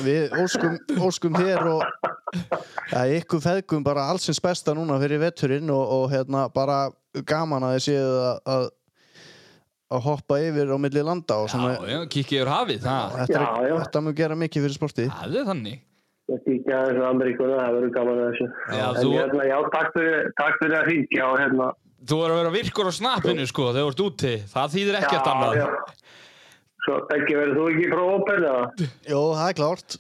[SPEAKER 1] Við óskum, óskum þér og að ykkur feðgum bara allsins besta núna fyrir veturinn og, og hérna bara gaman að þið séu að, að, að hoppa yfir á milli landa og svona.
[SPEAKER 2] Já, já, kikki yfir hafið, það,
[SPEAKER 1] Þetta, er-
[SPEAKER 3] Já, já.
[SPEAKER 1] þetta mjög gera mikið fyrir sportið.
[SPEAKER 2] það er þannig
[SPEAKER 3] Þetta er ekki aðeins á Ameríkuna, það verður gaman að þessu.
[SPEAKER 2] Já,
[SPEAKER 3] en
[SPEAKER 2] þú-
[SPEAKER 3] þú... hérna, já, takk fyrir, takk fyrir að hringja og hérna...
[SPEAKER 2] Þú er að vera virkur á snappinu, sko, þegar þú ert úti Það þýðir ekkert
[SPEAKER 3] Já,
[SPEAKER 2] annað
[SPEAKER 3] já. Svo, ekki verður þú ekki frá Opel, eða?
[SPEAKER 1] Jó, það er klárt.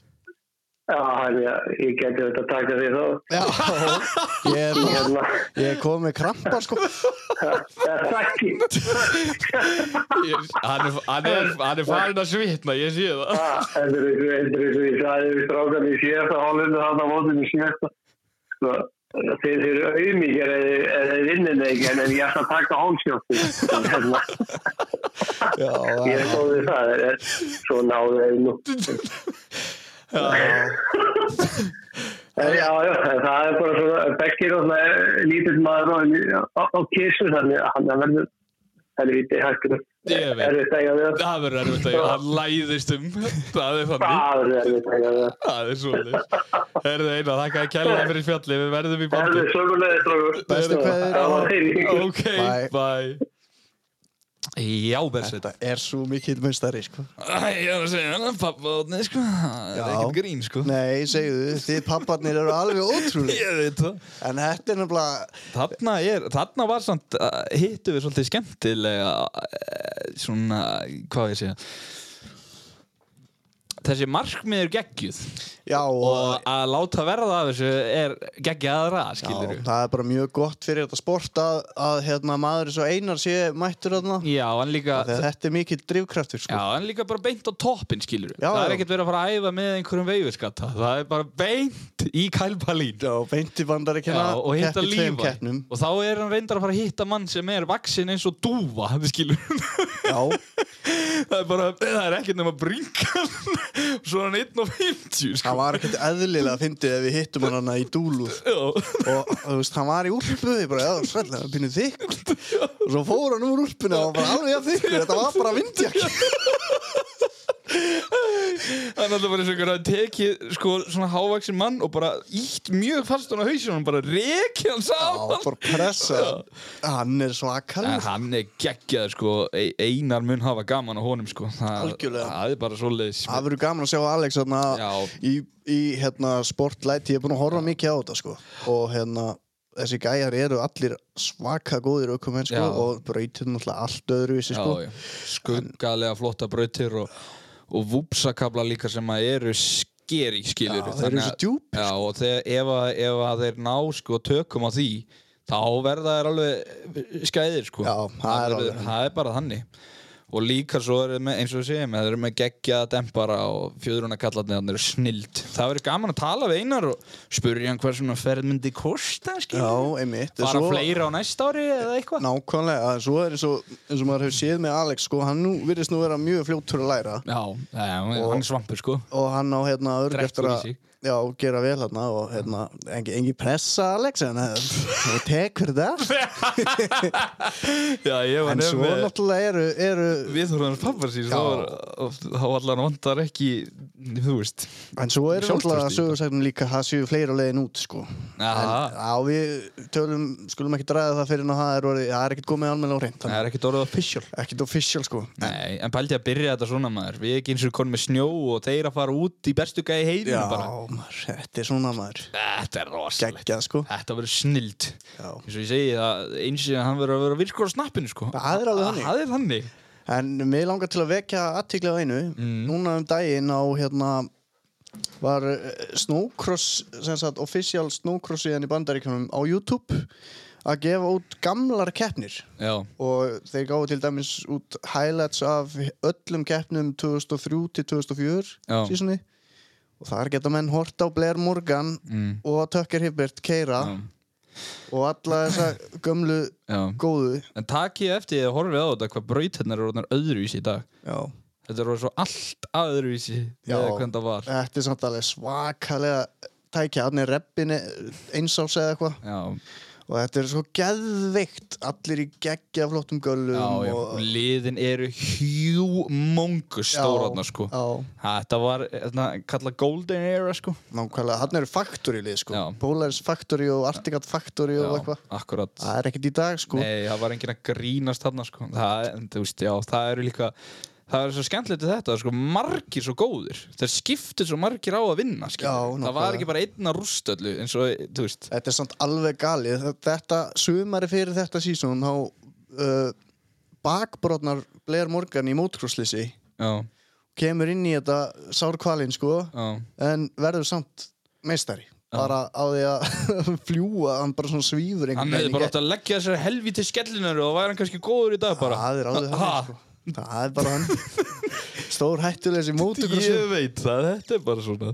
[SPEAKER 3] Já, hann, ég, ég geti þetta að taka því þá.
[SPEAKER 1] Já, ég er,
[SPEAKER 3] Hérna,
[SPEAKER 1] ég er komið með krampar sko.
[SPEAKER 3] það er ekki.
[SPEAKER 2] Ég- Hann er, hann er, hann er farin að svitna, ég sé það
[SPEAKER 3] Þetta er eins og- þetta er eins og ég sagði við strákan í síðasta hálfinu, hann á mótin í síðasta. Svo, þeir eru auðmíkjar eða þeir vinnir ekki, en en ég ætla að taka hálfsjótti. Hérna,
[SPEAKER 1] Já,
[SPEAKER 3] ég er
[SPEAKER 1] það-
[SPEAKER 3] góðið það, en- en svo náðu þeir nú.
[SPEAKER 2] Já,
[SPEAKER 3] En Já, já, en það er bara svona Bekkir og það er lítill maður og á, á kissu þannig að hann verður helviti hættur
[SPEAKER 2] Ég veit.
[SPEAKER 3] er þetta eiga við það
[SPEAKER 2] það verður erfitt að hann læðist um Það er þannig
[SPEAKER 3] Það er þetta eiga við það
[SPEAKER 2] Það er svolítið. Herðu eina, þakka að kæla fyrir fjalli, við verðum í
[SPEAKER 3] Það
[SPEAKER 2] bandi.
[SPEAKER 3] er sögulegði strókur
[SPEAKER 1] Bestu kveðjur.
[SPEAKER 3] Það var fyrir
[SPEAKER 2] Ok,
[SPEAKER 1] Bye.
[SPEAKER 2] bye. Já, Bersveit.
[SPEAKER 1] þetta er svo mikill mustari sko.
[SPEAKER 2] Ég er að segja, hann er pappa átni, sko. Það er
[SPEAKER 1] Já.
[SPEAKER 2] ekkert grín, sko.
[SPEAKER 1] Nei, segðu, þið papparnir eru alveg ótrúlega.
[SPEAKER 2] Ég veit það.
[SPEAKER 1] En þetta er nefnilega,
[SPEAKER 2] Þarna, er, þarna var samt, uh, hittu við svolítið skemmtilega, uh, svona, hvað á ég að segja. Þessi markmið er geggjuð
[SPEAKER 1] já,
[SPEAKER 2] og að láta verða af þessu er geggjaðra, skilur
[SPEAKER 1] Já, það er bara mjög gott fyrir þetta sport að, að hérna, maður svo einar sé mættur þarna.
[SPEAKER 2] Já, en líka,
[SPEAKER 1] Þegar þetta er mikill drivkraftur, sko.
[SPEAKER 2] Já, en líka bara beint á toppin, skilur
[SPEAKER 1] Já,
[SPEAKER 2] Það er
[SPEAKER 1] já.
[SPEAKER 2] ekkert verið að fara að æfa með einhverjum veifurskatta Það er bara beint í kælbalín
[SPEAKER 1] Já, beinti bandaríkina,
[SPEAKER 2] Já, og hitta lífa
[SPEAKER 1] keppnum.
[SPEAKER 2] Og þá er hann reyndar að fara að hitta mann sem er vaksin eins og dúfa skilur.
[SPEAKER 1] Já,
[SPEAKER 2] það er bara, það er ekkert nema bringan Svo er hann 1 og 50 sko.
[SPEAKER 1] það var ekkert eðlilega að fyndið ef við hittum hann hana í dúluð.
[SPEAKER 2] Já,
[SPEAKER 1] Og þú veist, hann var í úlpu, ég bara, já, svolítið, hann pínu þykk. Og svo fór hann úr úlpuna og hann var alveg að þykkur, þetta var bara vindjakk.
[SPEAKER 2] Það er alltaf bara eins og einhver að tekið sko, svona hávaksin mann og bara ítt mjög fast hann á hausinum bara rekið hann
[SPEAKER 1] Já,
[SPEAKER 2] saman
[SPEAKER 1] bara pressa. Hann er
[SPEAKER 2] En
[SPEAKER 1] svakalur.
[SPEAKER 2] hann er geggjaður sko, Ei- Einar mun hafa gaman á honum sko Það,
[SPEAKER 1] Algjörlega.
[SPEAKER 2] það er bara svoleiðis
[SPEAKER 1] Það verður gaman að sjá Alex þarna
[SPEAKER 2] Já.
[SPEAKER 1] í, í hérna, sportlæti, ég er búin að horfa mikið á þetta sko. og hérna þessi gæjar eru allir svaka góðir aukumenn sko,
[SPEAKER 2] Já.
[SPEAKER 1] og brautir náttúrulega allt öðru vissi, sko.
[SPEAKER 2] Já, já. Skuggalega flotta brautir og, og vúpsakabla líka sem að eru skeri skilur
[SPEAKER 1] Já, þeir eru svo sko. djúp.
[SPEAKER 2] Já og þegar, ef, að, ef að þeir ná sko tökum á því þá verða þeir alveg skæðir sko
[SPEAKER 1] Já, það er
[SPEAKER 2] verður-
[SPEAKER 1] alveg.
[SPEAKER 2] það er bara þannig og líka svo er með, eins og við segjum þeir eru með geggjaða dempara og fjöðruna kallarnir þannig eru snild það verður gaman að tala við einar og spurja hann hvað svona ferð myndi kosta skilur
[SPEAKER 1] Já, einmitt En
[SPEAKER 2] Fara fleiri á næsta ári eða eitthvað?
[SPEAKER 1] Nákvæmlega, en svo er eins og, eins og maður hefur séð með Alex sko, hann nú virðist nú vera mjög fljóttur að læra
[SPEAKER 2] Já, já,
[SPEAKER 1] Og-
[SPEAKER 2] hann er svampur sko
[SPEAKER 1] og hann á hérna örg
[SPEAKER 2] Drekkur
[SPEAKER 1] eftir
[SPEAKER 2] í
[SPEAKER 1] að
[SPEAKER 2] sig.
[SPEAKER 1] já, gera vel hérna og hérna, engi, engi pressa Alex en eh, þú tekur það
[SPEAKER 2] Já, ég var
[SPEAKER 1] en svo
[SPEAKER 2] nefn með
[SPEAKER 1] náttúrulega eru, eru
[SPEAKER 2] Við þurfum hans pappar síns Þá var þá allan vantar ekki Þú veist
[SPEAKER 1] En svo er
[SPEAKER 2] Sjálfstraust í
[SPEAKER 1] náttúrulega
[SPEAKER 2] þetta.
[SPEAKER 1] sögursagnum líka að það séu fleiri á leiðin út sko. En
[SPEAKER 2] Aha.
[SPEAKER 1] á við tölum, skulum ekki draga það fyrir en það er, orðið- það er ekkert komið almenna á reynd
[SPEAKER 2] Það er ekkert orðið official
[SPEAKER 1] Ekkert official sko
[SPEAKER 2] Nei, en pældi að byrja þetta svona maður Við ekki eins og konum með snjó og þeir að fara út í bestu gæði heilinu
[SPEAKER 1] Já,
[SPEAKER 2] bara
[SPEAKER 1] maður, þetta er svona maður
[SPEAKER 2] Þetta er rosalegt
[SPEAKER 1] Geggjað sko
[SPEAKER 2] Þetta verður snild
[SPEAKER 1] Já.
[SPEAKER 2] Eins og ég segi það eins og hann verður að vera virkur á snappinu sko
[SPEAKER 1] Það er alveg þannig.
[SPEAKER 2] Það er þannig
[SPEAKER 1] Mm. En mig langar til að vekja aðtikla á einu Núna um daginn á hérna var eh, snowcross, sem sagt, official snowcross síðan í bandaríkjumum á YouTube að gefa út gamlar keppnir
[SPEAKER 2] já,
[SPEAKER 1] og þeir gáðu til dæmis út highlights af öllum keppnum 2003 til 2004
[SPEAKER 2] Já.
[SPEAKER 1] sísunni og þar geta menn hort á Blair Morgan
[SPEAKER 2] mm,
[SPEAKER 1] og Tucker Hibbert keira
[SPEAKER 2] já,
[SPEAKER 1] og alla þessa gömlu
[SPEAKER 2] já.
[SPEAKER 1] góðu
[SPEAKER 2] En takk ég eftir ég horfið á þetta hvað brautinnar eru orðnar öðruvísi í dag
[SPEAKER 1] Já.
[SPEAKER 2] Þetta eru svo allt öðruvísi
[SPEAKER 1] Já.
[SPEAKER 2] eða hvernig það var
[SPEAKER 1] þetta er samt alveg svakalega tækja, hann er reppin einsáls eða eitthvað
[SPEAKER 2] Já,
[SPEAKER 1] og þetta er svo geðveikt allir í geggja flottum göllum
[SPEAKER 2] já, já,
[SPEAKER 1] og
[SPEAKER 2] og liðin eru hjúmongus stóraðna sko
[SPEAKER 1] já,
[SPEAKER 2] Þetta var, þetta kallað golden era sko
[SPEAKER 1] nákvæmlega, hann eru Factory lið sko,
[SPEAKER 2] Já.
[SPEAKER 1] Polaris Factory og Artigat Factory og
[SPEAKER 2] Já,
[SPEAKER 1] eitthvað
[SPEAKER 2] akkurat
[SPEAKER 1] það er ekkert í dag sko
[SPEAKER 2] Nei, það var enginn að grínast þarna sko Það, en þú veist, já, það eru líka Það er svo skemmtilegt við þetta, sko, margir svo góðir Þeir skiptu svo margir á að vinna skilur.
[SPEAKER 1] Já,
[SPEAKER 2] Það
[SPEAKER 1] nákvæmlega.
[SPEAKER 2] var ekki bara einn að rústa öllu eins og, þú veist
[SPEAKER 1] þetta er samt alveg galið Þe- þetta sumari fyrir þetta sísón þá uh, bakbrotnar Blair Morgan í mótkrosslýsi
[SPEAKER 2] Já,
[SPEAKER 1] kemur inn í þetta sárkvalin sko
[SPEAKER 2] já,
[SPEAKER 1] en verður samt meistari bara á því að fljúa hann bara svona svífur
[SPEAKER 2] Hann hefði bara átt að leggja þessar helvíti skellinar og væri hann kannski góður í dag bara
[SPEAKER 1] það er alveg
[SPEAKER 2] Ha,
[SPEAKER 1] hann sko. það er bara hann stór hættuleysi mótukrossu
[SPEAKER 2] Ég veit það, þetta er bara svona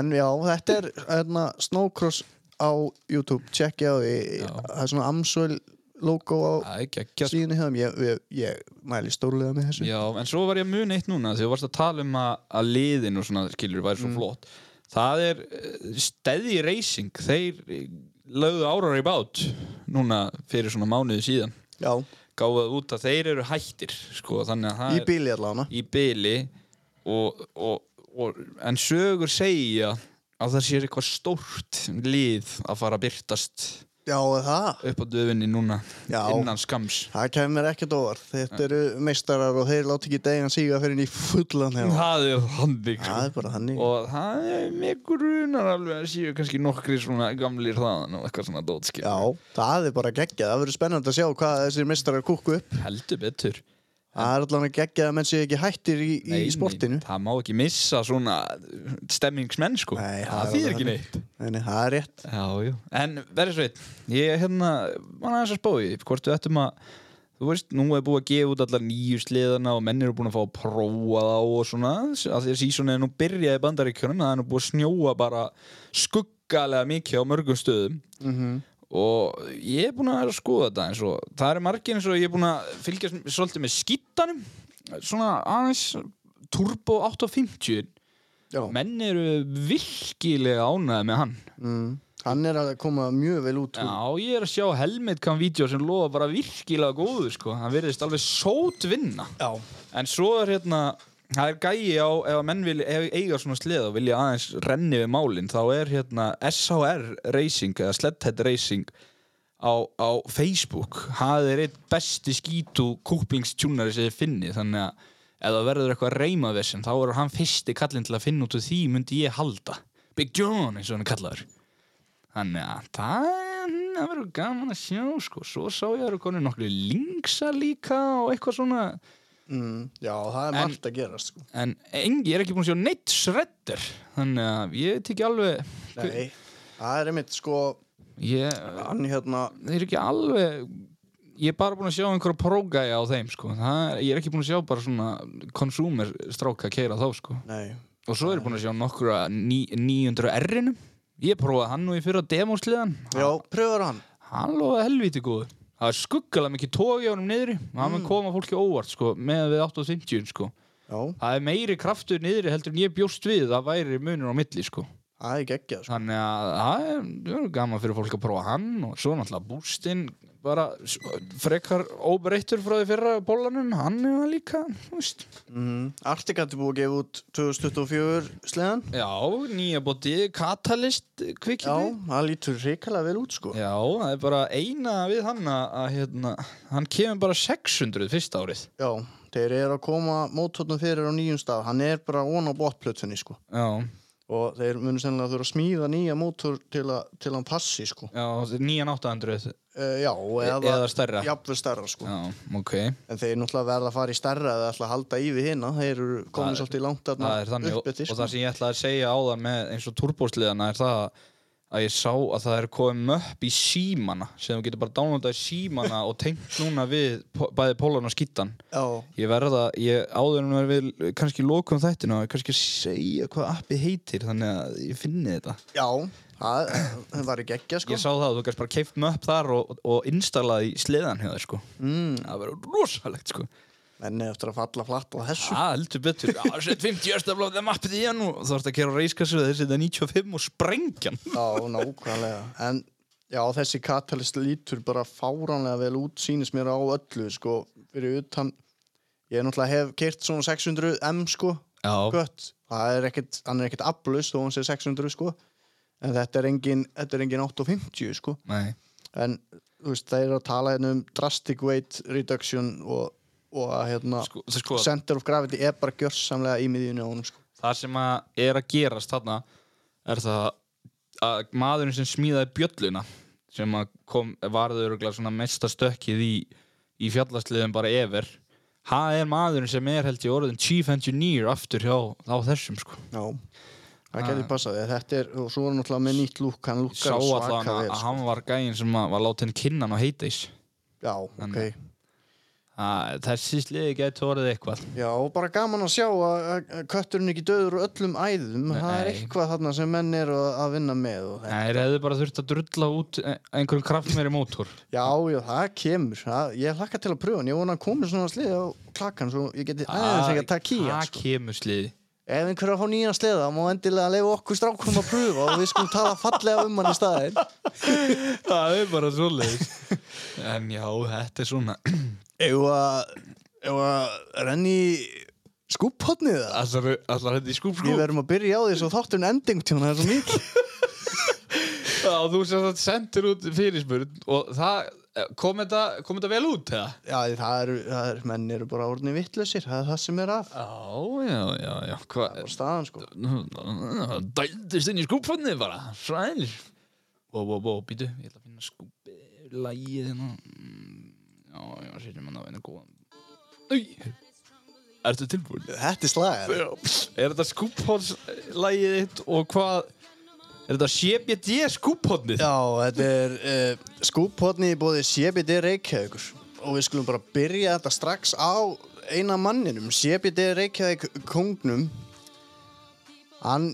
[SPEAKER 1] en já, þetta er hérna, snowcross á YouTube tjekkja á því,
[SPEAKER 2] Já. Ah,
[SPEAKER 1] það er svona Amsoil logo á
[SPEAKER 2] Það er geggjast
[SPEAKER 1] síðan í höfum ég, ég, ég mæli stórlega með þessu
[SPEAKER 2] Já, en svo var ég að muna eitt núna því þú varst að tala um að, að liðin og svona skilur
[SPEAKER 1] Mm.
[SPEAKER 2] væri svo flott það er steði racing þeir eh, lögðu árar í bát núna fyrir svona mánuði síðan
[SPEAKER 1] já,
[SPEAKER 2] gáðuð út að þeir eru hættir sko, þannig að það
[SPEAKER 1] í bíli allavega
[SPEAKER 2] er í byli og, og, og, en sögur segja að það sé eitthvað stórt lið að fara að byrtast
[SPEAKER 1] já, er það,
[SPEAKER 2] upp á döfinni núna
[SPEAKER 1] Já.
[SPEAKER 2] innan skams
[SPEAKER 1] það kemur ekkert óvart þetta eru meistarar og þeir láta ekki degjan síga fyrir í fullan hefa
[SPEAKER 2] það er sko. handig
[SPEAKER 1] það er bara hann
[SPEAKER 2] og það er mig grunar alveg að séu kannski nokkri svona gamlir þaðan og eitthvað svona dótskip
[SPEAKER 1] Já, það er bara geggjað. Það verður spennandi að sjá hvað þessir mistarar kúku upp.
[SPEAKER 2] heldur betur
[SPEAKER 1] Það er allan að geggjað að menn sé ekki hættir í, í
[SPEAKER 2] Nei,
[SPEAKER 1] sportinu.
[SPEAKER 2] nei, það má ekki missa svona stemmingsmenn sko
[SPEAKER 1] Nei, það
[SPEAKER 2] það
[SPEAKER 1] er alveg
[SPEAKER 2] þýðir ekki
[SPEAKER 1] þannig.
[SPEAKER 2] neitt
[SPEAKER 1] Nei, nei, það er rétt.
[SPEAKER 2] já, já. en verður sveit ég hérna, mann aðeins að spói hvort við ættum að þú veist, nú er búið að gefa út allar nýju sliðana og menn eru búin að fá að prófa þá og svona, að því að sísonið er nú byrjaði í bandaríkjunum, það er nú búið að snjóa bara skuggalega mikið á mörgum stöðum
[SPEAKER 1] Mm
[SPEAKER 2] Mhm. og ég er búinn að vera að skoða þetta eins og það er margir eins og ég er búinn að fylgjast m- svolítið með skittanum svona aðeins Turbo 850
[SPEAKER 1] Já.
[SPEAKER 2] menn eru virkilega ánæði með hann
[SPEAKER 1] Mm. Hann er að koma mjög vel út úr.
[SPEAKER 2] já ég er að sjá helmet cam vídeo sem lofa bara virkilega góður sko hann verðist alveg sót vinna
[SPEAKER 1] Já.
[SPEAKER 2] en svo er hérna það er gæi á ef að menn vil ef eiga svona sleð og vilja aðeins renni við málin þá er hérna SHR Racing eða Sledhead Racing á, á Facebook það er eitt besti skítu kúplingstjúnari sem þið finni þannig að ef það verður eitthvað reymavessin þá er hann fyrsti kallinn til að finna út úr því myndi ég halda Big John eins og hann er kallaður þannig að það það verður gaman að sjá sko svo sá ég að það eru konið nokkru linksa líka og eitthvað svona
[SPEAKER 1] Mm. Já, það er
[SPEAKER 2] En-
[SPEAKER 1] margt að gerast. Sko.
[SPEAKER 2] En engi, ég er ekki búinn að sjá neitt shredder Þannig að ég veit ekki alveg
[SPEAKER 1] Nei, það er einmitt sko,
[SPEAKER 2] Ég
[SPEAKER 1] hann hérna,
[SPEAKER 2] það er ekki alveg Ég er bara búinn að sjá einhverja prógæja á þeim sko. það, er- Ég er ekki búinn að sjá bara svona Consumer stráka keira þá sko.
[SPEAKER 1] nei,
[SPEAKER 2] Og svo er ég búinn að sjá nokkra ní, 900 R-inum Ég prófaði hann nú í fyrra demósliðan
[SPEAKER 1] já, pröfur hann.
[SPEAKER 2] Hann lofaði helviti góður Það er skuggalega mikið tógi á hann niðri og Hann mun koma fólki á óvart sko, með við 850 sko.
[SPEAKER 1] Já,
[SPEAKER 2] Það er meiri kraftur niðri heldur en ég bjóst við Það væri munur á milli sko.
[SPEAKER 1] það er geggjað. Sko.
[SPEAKER 2] þannig að það er- það er gaman fyrir fólk að prófa hann og svo náttúrulega bústinn bara s- frekar óbreyttur frá því fyrra bólanum, hann er það líka þú veist. Mhm.
[SPEAKER 1] Mm. Artigat er búið að gefa út 2024 sleðan.
[SPEAKER 2] já, nýja bóti katalist
[SPEAKER 1] Já,
[SPEAKER 2] kvikinu
[SPEAKER 1] það lítur reykjala vel út sko.
[SPEAKER 2] já, það er bara eina við hann að, að hérna, hann kemur bara 600 fyrsta árið
[SPEAKER 1] Já, þeir eru að koma mótotnum fyrir á nýjum stað. Hann er bara von á botplötunni, sko.
[SPEAKER 2] já,
[SPEAKER 1] Og þeir munu sennilega þurfa að smíða nýja mótor til, að, til að hann passi, sko.
[SPEAKER 2] já 9800
[SPEAKER 1] Já, Uh, já, eða,
[SPEAKER 2] E- eða stærra.
[SPEAKER 1] Jafnvel stærra, sko.
[SPEAKER 2] Já, ok.
[SPEAKER 1] En þeir náttúrulega verða að fara í stærra eða ætla að halda í við hérna. Þeir eru
[SPEAKER 2] Það
[SPEAKER 1] komin
[SPEAKER 2] er-
[SPEAKER 1] svolítið langt þarna
[SPEAKER 2] Það er þannig og,
[SPEAKER 1] upp eftir, sko.
[SPEAKER 2] og það sem ég ætlaði að segja áðan með eins og turbósliðana er það að ég sá að það er komið möpp í símana sem þú getur bara downloadað í símana og tengt núna við po- bæði pólun og skittan.
[SPEAKER 1] Já,
[SPEAKER 2] Ég verða, ég áður en við kannski lokum þættina og kannski segja hvað appið heitir þannig að ég finni þetta.
[SPEAKER 1] já, það það var ekki ekki, sko.
[SPEAKER 2] Ég sá það að þú gæst bara keift möpp þar og, og installaði í sliðan hjá þér sko.
[SPEAKER 1] Mm,
[SPEAKER 2] Það verður rosalegt sko.
[SPEAKER 1] menn er eftir að falla flatt á þessu.
[SPEAKER 2] Já, heldur betur. Já, sett 50 östaflóð þeim appið í hann og þú ert að kera reiskassu þessi þetta 95 og sprengjan.
[SPEAKER 1] Já, nákvæmlega. En já, þessi katalist lítur bara fáránlega vel út, sýnist mér á öllu, sko. Fyrir utan, ég náttúrulega hef kert svona 600M, sko,
[SPEAKER 2] Já,
[SPEAKER 1] gött. Það er ekkert, hann er ekkert aflust þó hann sé 600, sko. En þetta er engin, þetta er engin 850, sko.
[SPEAKER 2] nei.
[SPEAKER 1] En, þú veist, það er að tala hérna um drastic weight reduction og, og að, hérna,
[SPEAKER 2] Sko, það, sko,
[SPEAKER 1] center of gravity er bara gjörsamlega í miðjunni á honum, sko.
[SPEAKER 2] það sem að er að gerast þarna er það að maðurinn sem smíðaði bjölluna sem að kom, varður svona mesta stökkið í, í fjallasliðum bara efer hann er maðurinn sem er held ég orðin chief engineer aftur hjá á þessum sko.
[SPEAKER 1] Já. Það getur passað, eða þetta er, og svo er hann náttúrulega með nýtt lúk, hann
[SPEAKER 2] Ah. Ég sá
[SPEAKER 1] lúkkar
[SPEAKER 2] allan
[SPEAKER 1] svaka
[SPEAKER 2] að,
[SPEAKER 1] vel,
[SPEAKER 2] að
[SPEAKER 1] sko.
[SPEAKER 2] hann var gæinn sem að var látin kinnan á heiteis
[SPEAKER 1] Já, ok.
[SPEAKER 2] Þannig. að þessi sliði getur orðið eitthvað
[SPEAKER 1] Já, og bara gaman að sjá að að kötturinn ekki döður úr öllum æðum, það er
[SPEAKER 2] Nei.
[SPEAKER 1] eitthvað þarna sem menn eru að að vinna með og þetta.
[SPEAKER 2] það er hefðu bara þurft að drulla út eh, einhverjum kraftmeiri mótor
[SPEAKER 1] Já, já, það kemur, það, ég hlakka til að pröfa hann, ég vona að komi svona sliði á klakkan svo ég geti
[SPEAKER 2] Ah,
[SPEAKER 1] aðeins ekki að taka í hann,
[SPEAKER 2] það
[SPEAKER 1] sko.
[SPEAKER 2] kemur sliði
[SPEAKER 1] Ef einhver er að fá nýjan sleða, má endilega leifa okkur strákum að pröfa og við skulum tala fallega um hann í staðinn.
[SPEAKER 2] Það er bara svo leiðis En já, þetta er svona
[SPEAKER 4] Ef að, ef að renni
[SPEAKER 1] Skúpotnið það?
[SPEAKER 2] Allar þetta í skúp
[SPEAKER 1] Við
[SPEAKER 2] skúp
[SPEAKER 1] verðum að byrja á því svo þátturinn ending til það er svo mikið.
[SPEAKER 2] Já, þú sem sagt sendir út fyrirspurn Og það, kom þetta, kom þetta vel út, eða?
[SPEAKER 1] Já, það eru, það eru, menn eru bara orðinni vittlausir, það er það sem er af.
[SPEAKER 2] Já, já, já, já
[SPEAKER 1] Það
[SPEAKER 2] Hvað?
[SPEAKER 1] var staðan, sko.
[SPEAKER 2] Dældist inn í skúpfanni bara Svæl Bó, bó, bó, býtu Ég ætla að finna skúpi Lægið hérna Mm, Já, já, setjum hann á einu góðan Új Ertu tilbúin?
[SPEAKER 1] Þetta er slagar.
[SPEAKER 2] Já. Er þetta skúphóðslægið þitt og hvað Er þetta CBD skúphóðnið?
[SPEAKER 1] Já, þetta er uh, skúphotni í bóði CBD Reykjavíkur og við skulum bara byrja þetta strax á eina manninum, CBD Reykjavík kongnum. Hann,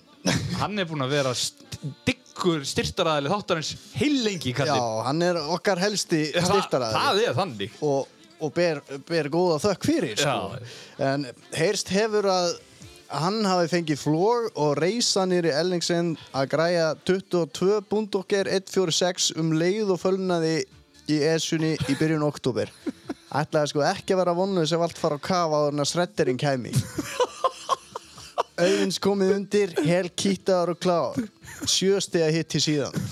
[SPEAKER 2] Hann er búinn að vera st- diggur styrtaræðileg þáttarins heilengi
[SPEAKER 1] já,
[SPEAKER 2] kallinn.
[SPEAKER 1] hann er okkar helsti styrtaraður.
[SPEAKER 2] Það er þannig.
[SPEAKER 1] og, og ber, ber góða þökk fyrir sko. en heyrst hefur að hann hafi fengið flóg og reysa nýri Ellingsen að græja 22 bundokker 146 um leið og fölnaði í esunni í byrjun oktober ætlaði sko ekki að vera vonlaus ef allt fara á kafa áður en að sretterinn kæmi auðvins komið undir hel kýttaðar og klár sjöstega hitti síðan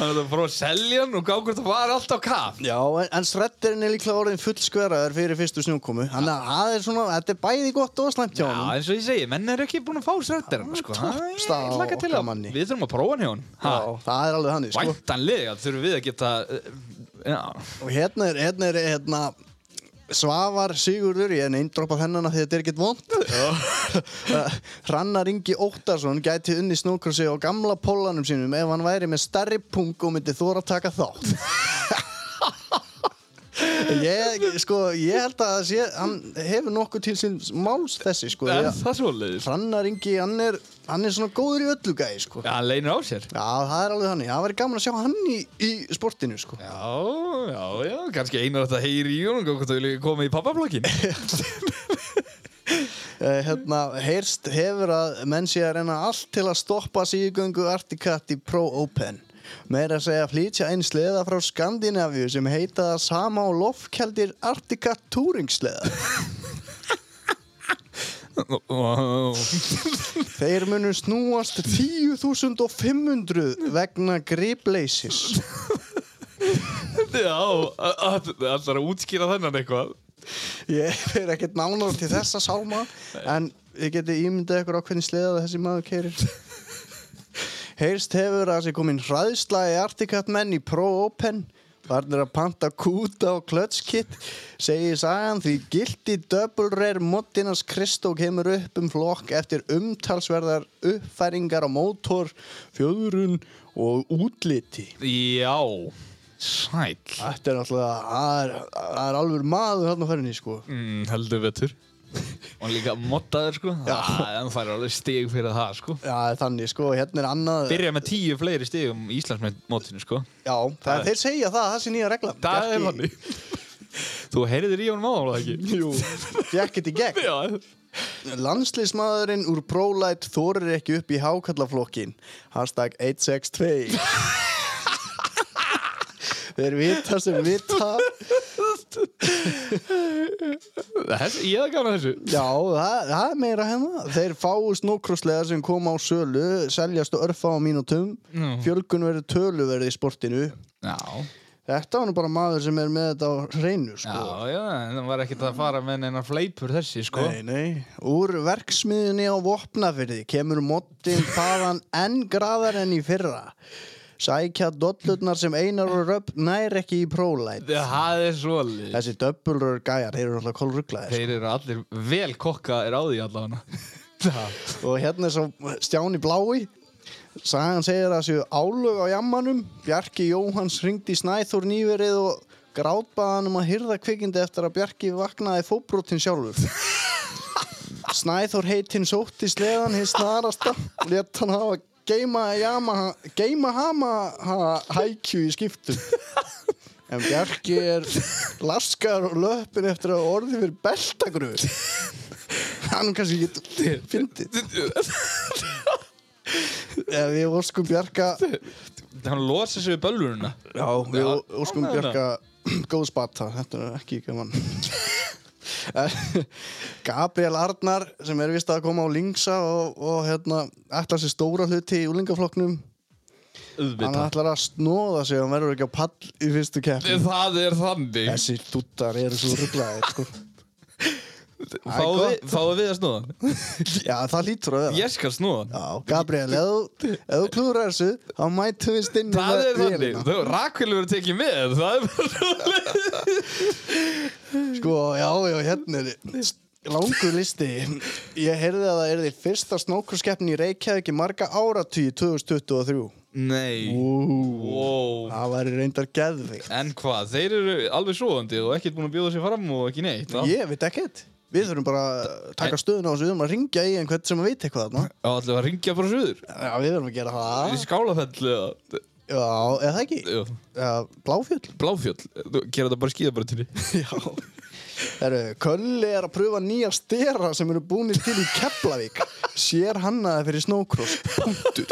[SPEAKER 2] Hann er að fara að selja hann og gá hvort það var alltaf kaf.
[SPEAKER 1] Já, en, en Shredderinn er líklega orðin fullskveraður fyrir fyrstu snjókomu Þannig að það er svona, þetta er bæði gott og slæmt hjá
[SPEAKER 2] Já,
[SPEAKER 1] honum
[SPEAKER 2] eins og ég segi, menn er ekki búin að fá srettir hann, sko.
[SPEAKER 1] toppstaða á
[SPEAKER 2] Laka til
[SPEAKER 1] okkar
[SPEAKER 2] að,
[SPEAKER 1] manni.
[SPEAKER 2] við þurfum að prófa hann hjá hann. Ha,
[SPEAKER 1] Já, það er alveg hannig, sko
[SPEAKER 2] Væntanlega þurfum við að geta, eh, já,
[SPEAKER 1] Og hérna er, hérna er, hérna Svavar Sigurður, ég er neindropað hennan af því að þetta er ekkert vond Hrannar Ingi Óttarsson gæti unni snókursi á gamla pólanum sínum ef hann væri með stærri pung og myndi þóra að taka þátt Ég, sko, ég held að það sé, hann hefur nokkuð til sín máls þessi, sko
[SPEAKER 2] er
[SPEAKER 1] ég-
[SPEAKER 2] það svoleiðis?
[SPEAKER 1] Hrannar Ingi, hann er, hann er svona góður í öllu gæði, sko. Já.
[SPEAKER 2] Já, hann leynir á sér.
[SPEAKER 1] það er alveg þannig. Það væri gaman að sjá hann í, í sportinu, sko.
[SPEAKER 2] Já, já, já, kannski einar þetta heyri í honum og hvort það vilja koma í pappablokkin
[SPEAKER 1] Eh, hérna, heyrst hefur að menn sé að reyna allt til að stoppa síðgöngu Articat í Pro Open. Meira að segja að flytja einn sleða frá Skandinavíu sem heita það sama og lofkjaldir Articat Touring sleða. Þeir munu snúast 10.500 vegna gripleysis.
[SPEAKER 2] Já, allar að útskýra þennan eitthvað
[SPEAKER 1] Ég er ekkert nánar til þessa sálma en ég geti ímyndað ykkur á hvernig sleða þessi maður keirir Heyrst hefur að sé komin hræðsla í Articat menn í Pro Open Varnir að panta kúta og klötskitt Segir sagan því gildi double rare moddinans Kristó kemur upp um flokk eftir umtalsverðar uppfæringar á mótor, fjöðrun og útliti
[SPEAKER 2] Já, sæl
[SPEAKER 1] Þetta er náttúrulega, það er, það er alveg maður þarna á ferðinni sko
[SPEAKER 2] mm, Heldur betur Og líka moddaður sko Það hann fær alveg stig fyrir það sko
[SPEAKER 1] Já, þannig sko, hérna er annað
[SPEAKER 2] Byrja með tíu fleiri stigum í Íslandsmótinu sko
[SPEAKER 1] Já, það,
[SPEAKER 2] er-
[SPEAKER 1] þeir segja það, það sé nýja regla
[SPEAKER 2] Það er
[SPEAKER 1] Gekk í-
[SPEAKER 2] þannig Þú heyrðir í honum áður ekki? Jú
[SPEAKER 1] Gekk þetta í gegn
[SPEAKER 2] Já,
[SPEAKER 1] Landslismadurinn úr ProLight þorir ekki upp í hákallaflokkin Hashtag 162 Þeir vita sem vita
[SPEAKER 2] Þess, ég hef gana þessu
[SPEAKER 1] Já, það, það er meira hérna Þeir fáu snókrosslega sem koma á sölu Seljast og örfa á mínútum Fjölgun verður töluverði í sportinu
[SPEAKER 2] Já,
[SPEAKER 1] Þetta var nú bara maður sem er með þetta á hreinu sko.
[SPEAKER 2] já, já, en það var ekkert að fara með neina fleipur þessi sko
[SPEAKER 1] Nei, nei. Úr verksmiðunni á Vopnafyrði kemur moddin þaðan enn graðar enn í fyrra. Sækja dollurnar sem einar og röpp nær ekki í prólæt.
[SPEAKER 2] Það er svolítið
[SPEAKER 1] Þessi döbbulur gæjar, þeir eru náttúrulega kólrugglaðir.
[SPEAKER 2] Þeir eru allir vel kokka er á því allavega Það
[SPEAKER 1] Og hérna er svo Stjáni Blái. Sagan segir að séu álög á jammanum. Bjarki Jóhans ringdi í Snæþór nýverið og grátbaðan um að hyrða kvikindi eftir að Bjarki vaknaði fóbrotin sjálfur. Snæþór heitinn sótti sleðan hins snarasta létt hann hafa geima, jama, geima hama ha, hækju í skiptum en Bjarki er laskar og löpin eftir að orðið fyrir beltagröð hann kannski getur fyndið eða við óskum Bjarka
[SPEAKER 2] Hann losa sig við bölvurina
[SPEAKER 1] já, við
[SPEAKER 2] Já,
[SPEAKER 1] óskum
[SPEAKER 2] ánægður með
[SPEAKER 1] Bjarka góð spata, þetta er ekki gaman Gabriel Arnar sem er vist að koma á Lingsa og, og hérna, ætlar sér stóra hluti í úlingaflokknum hann
[SPEAKER 2] Auðvitað
[SPEAKER 1] ætlar að snóða sig hann verður ekki á pall í fyrstu keppni
[SPEAKER 2] Það er þannig
[SPEAKER 1] þessi dúttar eru svo rugglaðir sko.
[SPEAKER 2] Fáum
[SPEAKER 1] gott.
[SPEAKER 2] við, fáum við að snúa
[SPEAKER 1] já, það lítur að vera
[SPEAKER 2] Ég skal snúa
[SPEAKER 1] já, Gabriel, ef þú- ef þú klúður þessu þá mætum við stinni
[SPEAKER 2] Það
[SPEAKER 1] með
[SPEAKER 2] er þannig
[SPEAKER 1] vélina.
[SPEAKER 2] Þú, Rakel verður tekið með Það er bara svolítið
[SPEAKER 1] Sko, já, já, hérna er langur listi. Ég heyrði að það er því fyrsta snókurskeppni í Reykjavík í marga áratugi 2023.
[SPEAKER 2] Nei
[SPEAKER 1] Ú,
[SPEAKER 2] wow.
[SPEAKER 1] það væri reyndar geðvikt.
[SPEAKER 2] En hvað, þeir eru alveg svoðandi og ekkert búin að bjóða sér fram og ekki neitt Já,
[SPEAKER 1] Ég veit ekkert. Við þurfum bara að taka stöðun á þessu, við þurfum að ringja í einhvern sem að veit eitthvað þarna.
[SPEAKER 2] allir að ringja bara suður
[SPEAKER 1] Já, við þurfum að gera það.
[SPEAKER 2] Í skálafell eða-
[SPEAKER 1] Já, eða það ekki?
[SPEAKER 2] eða
[SPEAKER 1] Já, bláfjöld.
[SPEAKER 2] Bláfjöll Þú gera þetta bara skíðabröndinni
[SPEAKER 1] Já. Herru, Kölli er að pröfa nýja stera sem eru búinir til í Keflavík. Sér hannaði fyrir snókross. Punktur.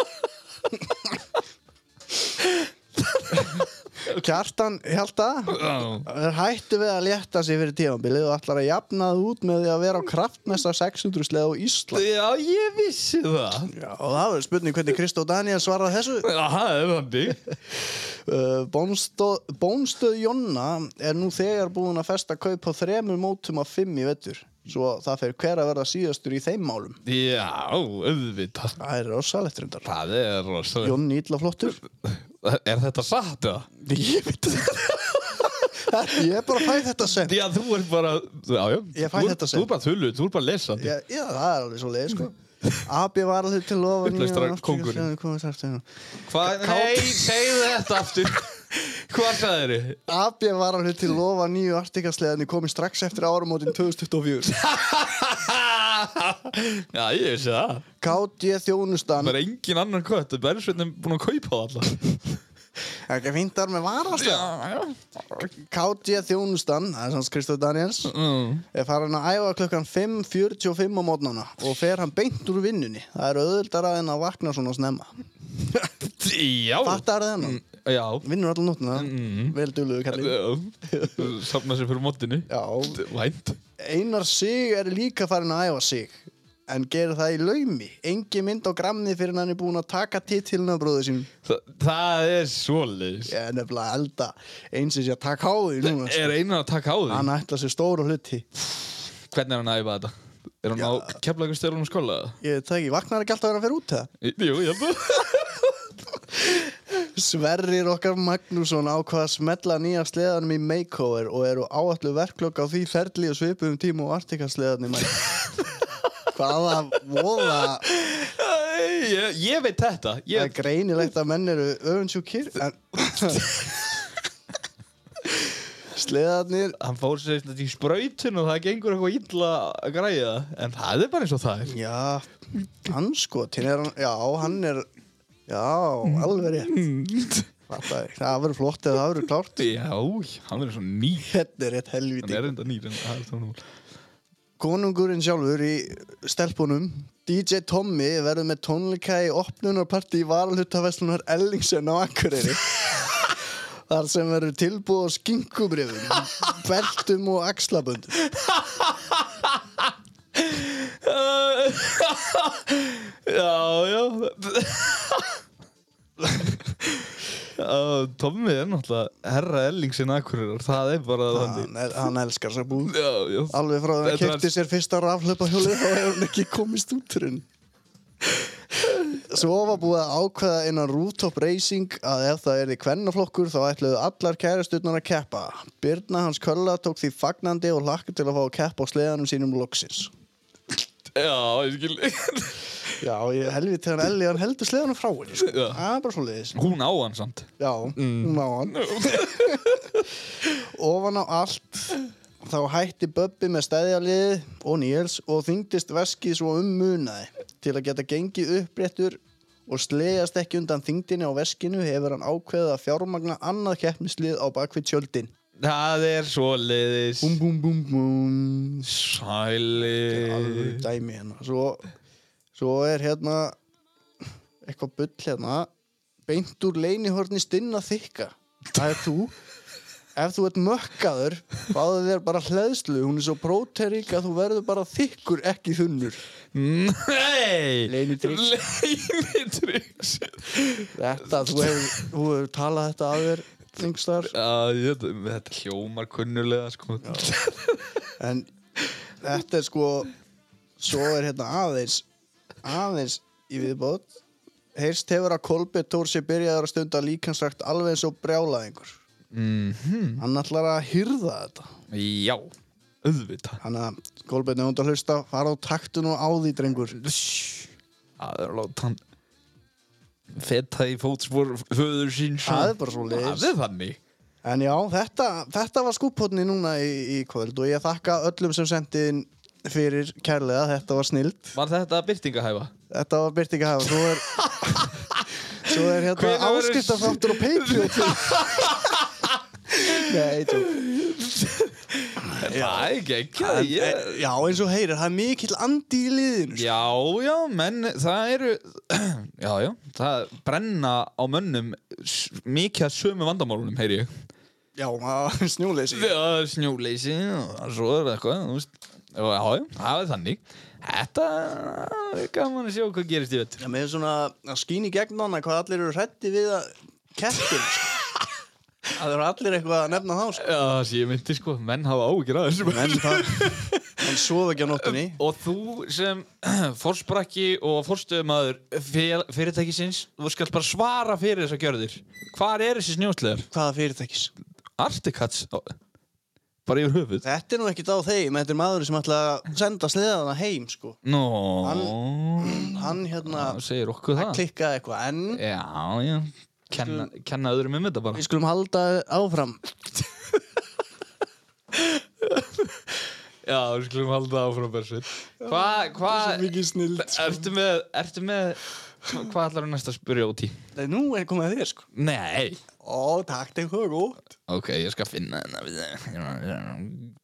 [SPEAKER 1] Kjartan, Hjalta, er hættu við að létta sig fyrir tífambilið og ætlar að jafna það út með því að vera á kraftmesta 600 sleða á Ísland.
[SPEAKER 2] Já, ég vissi það
[SPEAKER 1] Já, og það verður spurning hvernig Kristó Daniel svaraði þessu.
[SPEAKER 2] Já, það er þannig
[SPEAKER 1] Uh, Bónstó- Bónstöð Jonna er nú þegar búin að festa kaup á þremur mótum af fimm í vettur. Svo það fer hver að verða síðastur í þeim málum.
[SPEAKER 2] Já, auðvitað
[SPEAKER 1] Það er rosalegt reyndar.
[SPEAKER 2] Það er rosalega
[SPEAKER 1] Jonni illa flottur.
[SPEAKER 2] Er þetta satt eða?
[SPEAKER 1] Ég veit það. Ég er bara að fæ þetta sem.
[SPEAKER 2] Já, þú ert bara Já, já
[SPEAKER 1] Ég fæ
[SPEAKER 2] Þú-
[SPEAKER 1] þetta
[SPEAKER 2] Þú
[SPEAKER 1] sent.
[SPEAKER 2] er bara þullu, þú er bara lesandi
[SPEAKER 1] Já, já, það er alveg svo leið, sko. Abi var alveg til lofa
[SPEAKER 2] Upplestrar kóngurinn.
[SPEAKER 1] kóngurinn.
[SPEAKER 2] Hvað? Nei, segðu þetta aftur Hvað sagðir þið?
[SPEAKER 1] Abi var alveg til lofa nýju artikasleðinni komið strax eftir áramótin 2024.
[SPEAKER 2] Já, ég vissi það
[SPEAKER 1] KD þjónustan.
[SPEAKER 2] Það er engin annan kött Það er bernsveitin búin að kaupa það alla
[SPEAKER 1] Ekki fíntar með varaslega.
[SPEAKER 2] Já,
[SPEAKER 1] KG þjónustan, það er sanns Kristóð Daniels
[SPEAKER 2] Mm.
[SPEAKER 1] er farin að æfa klukkan 5.45 á mótnana og fer hann beint úr vinnunni það er auðvildara en að vakna svona snemma
[SPEAKER 2] já
[SPEAKER 1] fattar það hennan,
[SPEAKER 2] Já
[SPEAKER 1] vinnur allan nóttina
[SPEAKER 2] Mm.
[SPEAKER 1] vel dugluðu kalli
[SPEAKER 2] Já. Safna sér fyrir mótinu
[SPEAKER 1] Já,
[SPEAKER 2] Vænt
[SPEAKER 1] Einar Sig er líka farin að æfa sig en gerir það í laumi engi mynd á gramni fyrir hann er búin að taka titilina bróðu sínum
[SPEAKER 2] Þa, Það er svoleiðis
[SPEAKER 1] ég er nefnilega að elda eins og sé að taka á því núna sko.
[SPEAKER 2] Er einan að taka á því?
[SPEAKER 1] hann ætla sér stóru hluti
[SPEAKER 2] Hvernig er hann að æfa þetta? Er hann á keflagur stjórnum skóla?
[SPEAKER 1] ég veit það ekki, vaknar ekki alltaf að vera að fyrir út það
[SPEAKER 2] Jú, ég held að
[SPEAKER 1] Sverrir okkar Magnússon ákvað að smetla nýja sleðanum í makeover og eru áallu verklokk á því ferli og svipum tíma og artikasleðanum Hvaða voða
[SPEAKER 2] ég, ég veit þetta
[SPEAKER 1] Það er
[SPEAKER 2] ég,
[SPEAKER 1] greinilegt að menn eru öfundsjúkir en... Sleðarnir
[SPEAKER 2] Hann fór sér þetta í sprautun og það gengur eitthvað illa að græja það. En það er bara eins og það er
[SPEAKER 1] Já, anskotin er hann Já, hann er Já, alveg rétt Fattaði. Það verður flott eða það verður klárt
[SPEAKER 2] Já, hann er svo nýr
[SPEAKER 1] Þetta er rétt
[SPEAKER 2] Hann
[SPEAKER 1] helviti
[SPEAKER 2] er enda nýr en það er það nú
[SPEAKER 1] Konungurinn sjálfur í stelpunum DJ Tommy verður með tónleika í opnunarparti í varalhutafesslunar Ellingsen á Akureyri Þar sem verður tilbúið á skinkubrifum, beltum og axlabundum
[SPEAKER 2] Já, já Já, Tommi er náttúrulega herra Ellingsin Akureyrar Það er bara þannig
[SPEAKER 1] hann, er, hann elskar sér búð
[SPEAKER 2] Já, já
[SPEAKER 1] Alveg frá því að hann
[SPEAKER 2] Þetta var-
[SPEAKER 1] kefti sér fyrsta raflöpahjóli þá hefur hann ekki komist út úr henn Svo var búið að ákveða innan Rooftop Racing að ef það er í kvennaflokkur þá ætluðu allar kærasturnar að keppa Birna hans Kölla tók því fagnandi og hlakka til að fá að keppa á sleðanum sínum loksins
[SPEAKER 2] Já, ég skil
[SPEAKER 1] Já, ég helvið til hann Elli, hann heldur sleðanum frá henni sko.
[SPEAKER 2] Já.
[SPEAKER 1] Það er bara svo leiðis
[SPEAKER 2] Hún á hann samt
[SPEAKER 1] Já, hún á hann Ofan á allt þá hætti Böbbi með stæðjaliði og Níels og þyngdist veskið svo um munaði til að geta gengið uppréttur og slegast ekki undan þyngdinni á veskinu hefur hann ákveðið að fjármagna annað keppnislið á bakvið tjöldin
[SPEAKER 2] Það er svo leiðis
[SPEAKER 1] Búm, búm, búm, búm
[SPEAKER 2] Sæli
[SPEAKER 1] alveg dæmi hérna svo, svo er hérna eitthvað bull hérna beint úr leinihorni stinna þykka það er þú ef þú ert mökkaður fáðu þér bara hleðslu, hún er svo próterík að þú verður bara þykkur ekki þunnur
[SPEAKER 2] Nei
[SPEAKER 1] Leynitrix.
[SPEAKER 2] Leinitryggs
[SPEAKER 1] þetta, þú hefur, þú hefur talað þetta að þér þingstar
[SPEAKER 2] Þetta þetta hljómar kunnulega sko
[SPEAKER 1] en þetta er sko svo er hérna aðeins aðeins í viðbót heyrst hefur að Kolbjörn Tór sé byrjaður að stunda líkansrækt alveg eins og brjálaðingur
[SPEAKER 2] Mhm.
[SPEAKER 1] hann ætlar að hyrða þetta
[SPEAKER 2] Já Auðvitað
[SPEAKER 1] hann að Kolbjörn er út að hlusta fara á taktun og á því drengur
[SPEAKER 2] Það er að láta hann Feta í fótspor Föður sín
[SPEAKER 1] það er bara svo
[SPEAKER 2] Það
[SPEAKER 1] leiðis
[SPEAKER 2] er þannig
[SPEAKER 1] en já, þetta, þetta var skúppotni núna í, í kvöld og ég þakka öllum sem sendi inn fyrir kærlega, þetta var snild
[SPEAKER 2] Var þetta byrtingahæfa?
[SPEAKER 1] Þetta var Byrti Gafa Svo er, svo er hérna
[SPEAKER 2] Hvenær verður-
[SPEAKER 1] áskiptafráttur og Patriot Nei, tjók
[SPEAKER 2] Það er ekki ekki ég...
[SPEAKER 1] eh, Já, eins og heyrir, það er mikill andi í liðinu sko.
[SPEAKER 2] Já, já, menn það eru Já, já, það brenna á mönnum s- mikið að sömu vandamálunum, heyri ég
[SPEAKER 1] Já, það er snjóleysi
[SPEAKER 2] Já, það er snjóleysi og svo er það eitthvað, þú veist og Já, já, það er þannig Þetta er gaman að sjá hvað gerist í vettur
[SPEAKER 1] Já, með svona að skýni gegn hana hvað allir eru hrætti við að kettin Það eru allir eitthvað að nefna þá sko.
[SPEAKER 2] Já, það sé ég myndi sko, menn hafa áhyggjur að þessu
[SPEAKER 1] En það, hann sofa ekki á nóttunni
[SPEAKER 2] Og þú sem fórsprakki og fórstöðumæður fyrirtækisins, þú skalt bara svara fyrir þessar gjörðir. Hvar er þessi snjóslegar?
[SPEAKER 1] Hvaða fyrirtækis?
[SPEAKER 2] Artikats bara yfir höfuð
[SPEAKER 1] Þetta er nú ekkert á þeim, þetta er maður sem ætla að senda sleðana heim sko.
[SPEAKER 2] Nó
[SPEAKER 1] Hann hérna
[SPEAKER 2] Það segir okkur það
[SPEAKER 1] klikka eitthvað en
[SPEAKER 2] Já, já Kenna, kenna öðrum um þetta bara
[SPEAKER 1] við skulum halda áfram
[SPEAKER 2] Já, við skulum halda áfram Bersveit Hvað, hvað
[SPEAKER 1] snild
[SPEAKER 2] Ertu með, ertu með Hvað ætlar þú næst að spyrja út í?
[SPEAKER 1] nú er komið að þér sko
[SPEAKER 2] Nei
[SPEAKER 1] ó takk þig hvað gótt
[SPEAKER 2] Ok, ég skal finna hérna við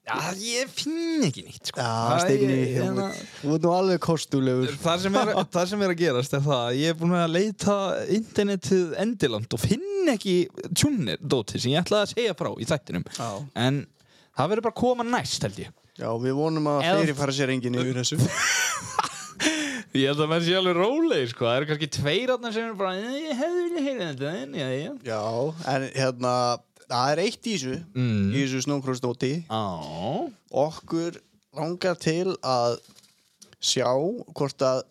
[SPEAKER 2] Já, ég finn ekki nýtt sko.
[SPEAKER 1] já
[SPEAKER 2] Það-
[SPEAKER 1] stefni
[SPEAKER 2] ég- ég-
[SPEAKER 1] þú ert nú alveg kostulegur
[SPEAKER 2] Það sem, er, það sem er að gerast er það að ég er búin að leita internetið endilangt og finn ekki tjúnnerdóti sem ég ætlaði að segja frá í þættinum
[SPEAKER 1] Já.
[SPEAKER 2] en það verður bara að koma næst held ég
[SPEAKER 1] já við vonum að
[SPEAKER 2] Eða-
[SPEAKER 1] þeirri fara sér enginn yfir þessu
[SPEAKER 2] Ég held að menn sé alveg róleg sko. það eru kannski tveir átnar sem er bara "Eh, ég hefði vilja heyra þetta en já, já
[SPEAKER 1] já en hérna það er eitt í þessu
[SPEAKER 2] Mm.
[SPEAKER 1] í þessu snókrósdóti
[SPEAKER 2] Á,
[SPEAKER 1] okkur langar til að sjá hvort að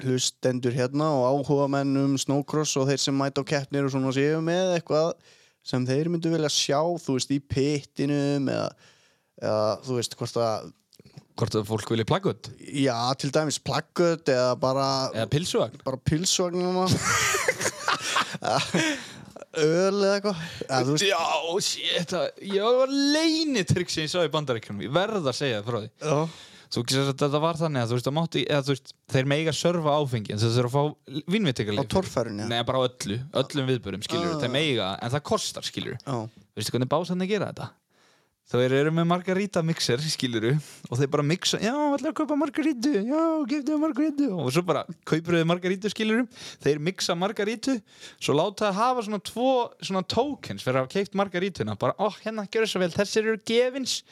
[SPEAKER 1] hlustendur hérna og áhuga menn um snowcross og þeir sem mæta á keppnir og svona séu með eitthvað sem þeir myndu vilja sjá, þú veist, í pittinum eða, eða þú veist, hvort að
[SPEAKER 2] Hvort að fólk vilja plagga út?
[SPEAKER 1] já, til dæmis plaggöt eða bara,
[SPEAKER 2] Eða pilsuvagn?
[SPEAKER 1] bara pilsvagnum öl eða eitthvað eða, þú veist,
[SPEAKER 2] Já, shit, það- ég var leinitrygg sem ég sá í bandaríkjum, ég verð að segja það frá því.
[SPEAKER 1] já,
[SPEAKER 2] Þú veist að þetta var þannig að þú veist að mátti, eða þú veist, þeir meiga sörfa áfengi en þess að þeir eru að fá
[SPEAKER 1] á
[SPEAKER 2] vinnvittekarleif.
[SPEAKER 1] torfærunni eða?
[SPEAKER 2] Nei, bara á öllu, öllum viðbörum, skilur
[SPEAKER 1] Ah.
[SPEAKER 2] þeir meiga, en það kostar, skilur
[SPEAKER 1] já,
[SPEAKER 2] Veistu hvernig básan þeir gera þetta? Þeir eru með margarita mixer, skilur og þeir bara mixa, já, ætlaðu að kaupa margarítu, já, gefðu þau margarítu og svo bara kaupir þau margarítu, skilur þeir mixa margarítu, svo láta það hafa svona tvo, svona tokens fyrir að hafa keipt margarítuna, bara, ó, hérna, gjör þess að vel þessir eru gefins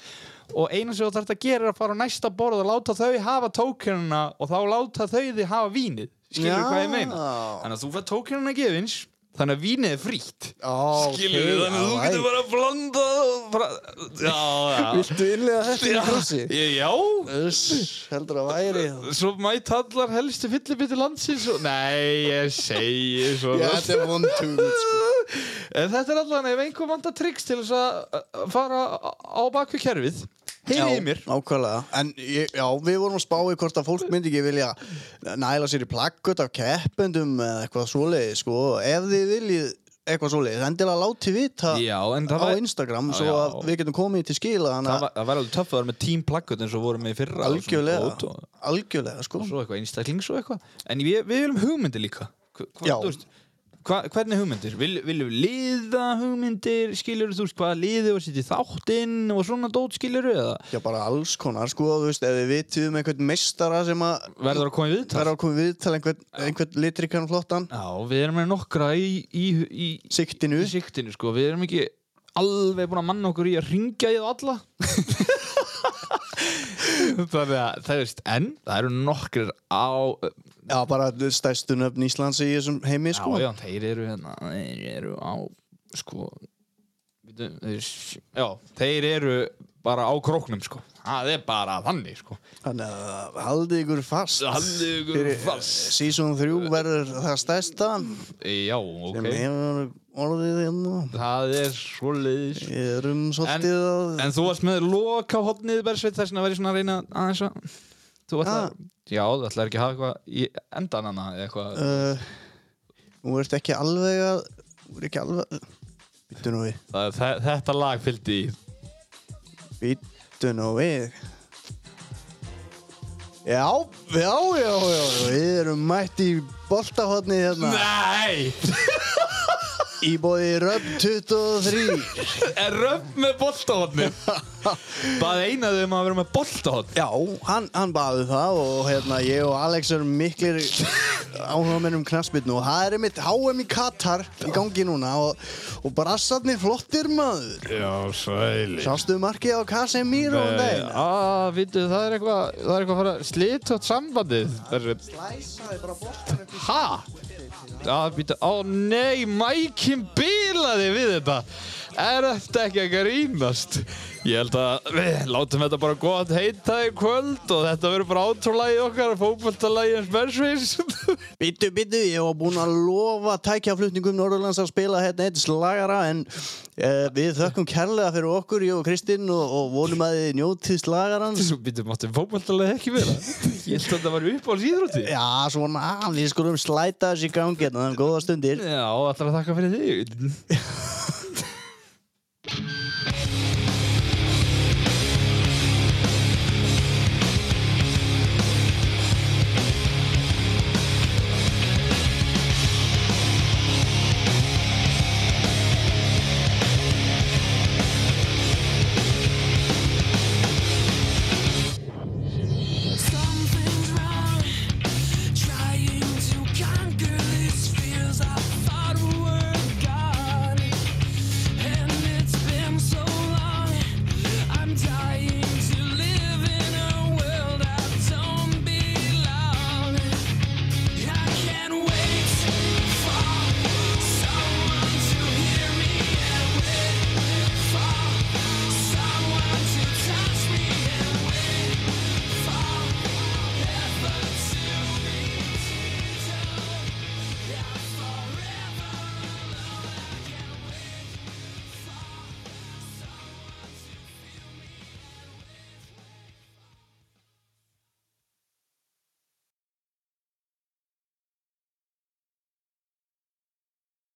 [SPEAKER 2] og eina sem þú þarft að gera er að fara á næsta borð og láta þau hafa tokenuna og þá láta þau þið hafa vínið
[SPEAKER 1] Já.
[SPEAKER 2] skilur hvað ég meina þannig að þú fær tokenuna gefins þannig að vínið er frítt
[SPEAKER 1] Ó,
[SPEAKER 2] skilur
[SPEAKER 1] ok,
[SPEAKER 2] þannig að þú
[SPEAKER 1] alright.
[SPEAKER 2] getur bara að blanda og bara, já,
[SPEAKER 1] Viltu innlega þetta í krossi?
[SPEAKER 2] já, já
[SPEAKER 1] Uss, heldur að væri það.
[SPEAKER 2] svo mæta allar helstu fyllibiti landsins og, nei, ég segi svo
[SPEAKER 1] Já, þetta er vondtugum, sko.
[SPEAKER 2] en þetta er allan ef einhver vanda tryggs til þess að að fara á baku kerfið heyrið í mér
[SPEAKER 1] Ákvæðlega. En ég, já, við vorum að spá í hvort að fólk myndi ekki vilja næla sér í plakkut af keppendum eða eitthvað svoleiði, sko. Ef þið viljið eitthvað svoleiði, endilega láti vita
[SPEAKER 2] já,
[SPEAKER 1] á
[SPEAKER 2] en það var
[SPEAKER 1] Instagram
[SPEAKER 2] Já,
[SPEAKER 1] svo
[SPEAKER 2] já.
[SPEAKER 1] að við getum komið til skila,
[SPEAKER 2] Það
[SPEAKER 1] þannig
[SPEAKER 2] var, það var alveg töff að vera með team plakut eins og vorum við í fyrra
[SPEAKER 1] að
[SPEAKER 2] og svona bót
[SPEAKER 1] algjörlega,
[SPEAKER 2] og,
[SPEAKER 1] algjörlega, sko.
[SPEAKER 2] og svo eitthvað einstaklings og eitthvað En við, við viljum hugmyndir líka Hva,
[SPEAKER 1] Já.
[SPEAKER 2] þú veist, hva, Hvernig hugmyndir? Vil, viljum við liða hugmyndir? Skilur þú veist hvaða liði og setja í þáttinn og svona dót skilur eða
[SPEAKER 1] Já, bara alls konar, sko, þú veist, ef við vitið um einhvern meistara sem að
[SPEAKER 2] verður að koma í viðtal?
[SPEAKER 1] verður að koma við til einhvern, einhvern litrikan flottan,
[SPEAKER 2] Já, við erum með nokkra í, í, í,
[SPEAKER 1] siktinu,
[SPEAKER 2] í siktinu sko Við erum ekki alveg búin að manna okkur í að ringja í það alla Þannig að það veist En það eru nokkrir á
[SPEAKER 1] Já, bara stærstu nöfn Íslands í þessum heimi, sko.
[SPEAKER 2] Já, já, þeir eru hérna, þeir eru á, sko, bíddu, þeir, já, þeir eru bara á króknum, sko. Það er bara þannig, sko.
[SPEAKER 1] Þannig að haldið ykkur fast. eh,
[SPEAKER 2] Haldið ykkur fast.
[SPEAKER 1] Season 3 verður það stærsta
[SPEAKER 2] Já, ok.
[SPEAKER 1] sem hefur orðið hérna.
[SPEAKER 2] Það er svo leiðis.
[SPEAKER 1] Við erum
[SPEAKER 2] En,
[SPEAKER 1] svolítið að...
[SPEAKER 2] en þú varst með loka hodnið, Bersveit, þess vegna verið svona að reyna aðeins að, þú ætlar,
[SPEAKER 1] Ah.
[SPEAKER 2] já, þú ætlar ekki að hafa eitthvað í endan hana, eða eitthvað.
[SPEAKER 1] Uh, nú ertu ekki alveg að... Þú ert ekki alveg... Býttu nú við.
[SPEAKER 2] Það, þe- þetta lag fylgdi í.
[SPEAKER 1] Býttu nú við. Já, já, já, já, við erum mætt í boltahotni hérna
[SPEAKER 2] Nei!
[SPEAKER 1] í bóði Röp 23.
[SPEAKER 2] Er röf með boltahotnið? Bað einaðu um að vera með boltahotn.
[SPEAKER 1] Já, hann, hann baði það og hérna ég og Alex erum miklir áhugamenn um knarsbytnu og það er einmitt HM í Katar í gangi núna og, og brassarnir flottir maður.
[SPEAKER 2] Já, sæli.
[SPEAKER 1] Sástu markið á Casemiro um daginn?
[SPEAKER 2] Ah, vittu, það er eitthvað það er eitthvað að fara að slita átt sambandið Það er-
[SPEAKER 1] Læsaði bara boltan upp í
[SPEAKER 2] Ha? Ah, býta, ó nei, mækin bilaði við þetta Er þetta ekki að grínast? Ég held að við látum þetta bara gott heita í kvöld og þetta verður bara átrúlægi okkar fókvöldalagi en smersveins
[SPEAKER 1] Bittu, bittu, ég var búinn að lofa tækjaflutningum Norðurlands að spila hérna eitt slagara en uh, við þökkum kærlega fyrir okkur, ég og Kristinn og, og vonum að þið njótið slagarans.
[SPEAKER 2] Svo býta, máttu fókvöldalagi ekki vera? Ég held að þetta var upp á síðrúti
[SPEAKER 1] Já, "Ah, svona, við skulum slæta þessi gangi hérna, þannig góða stundir.
[SPEAKER 2] Já, allar að þakka fyrir þig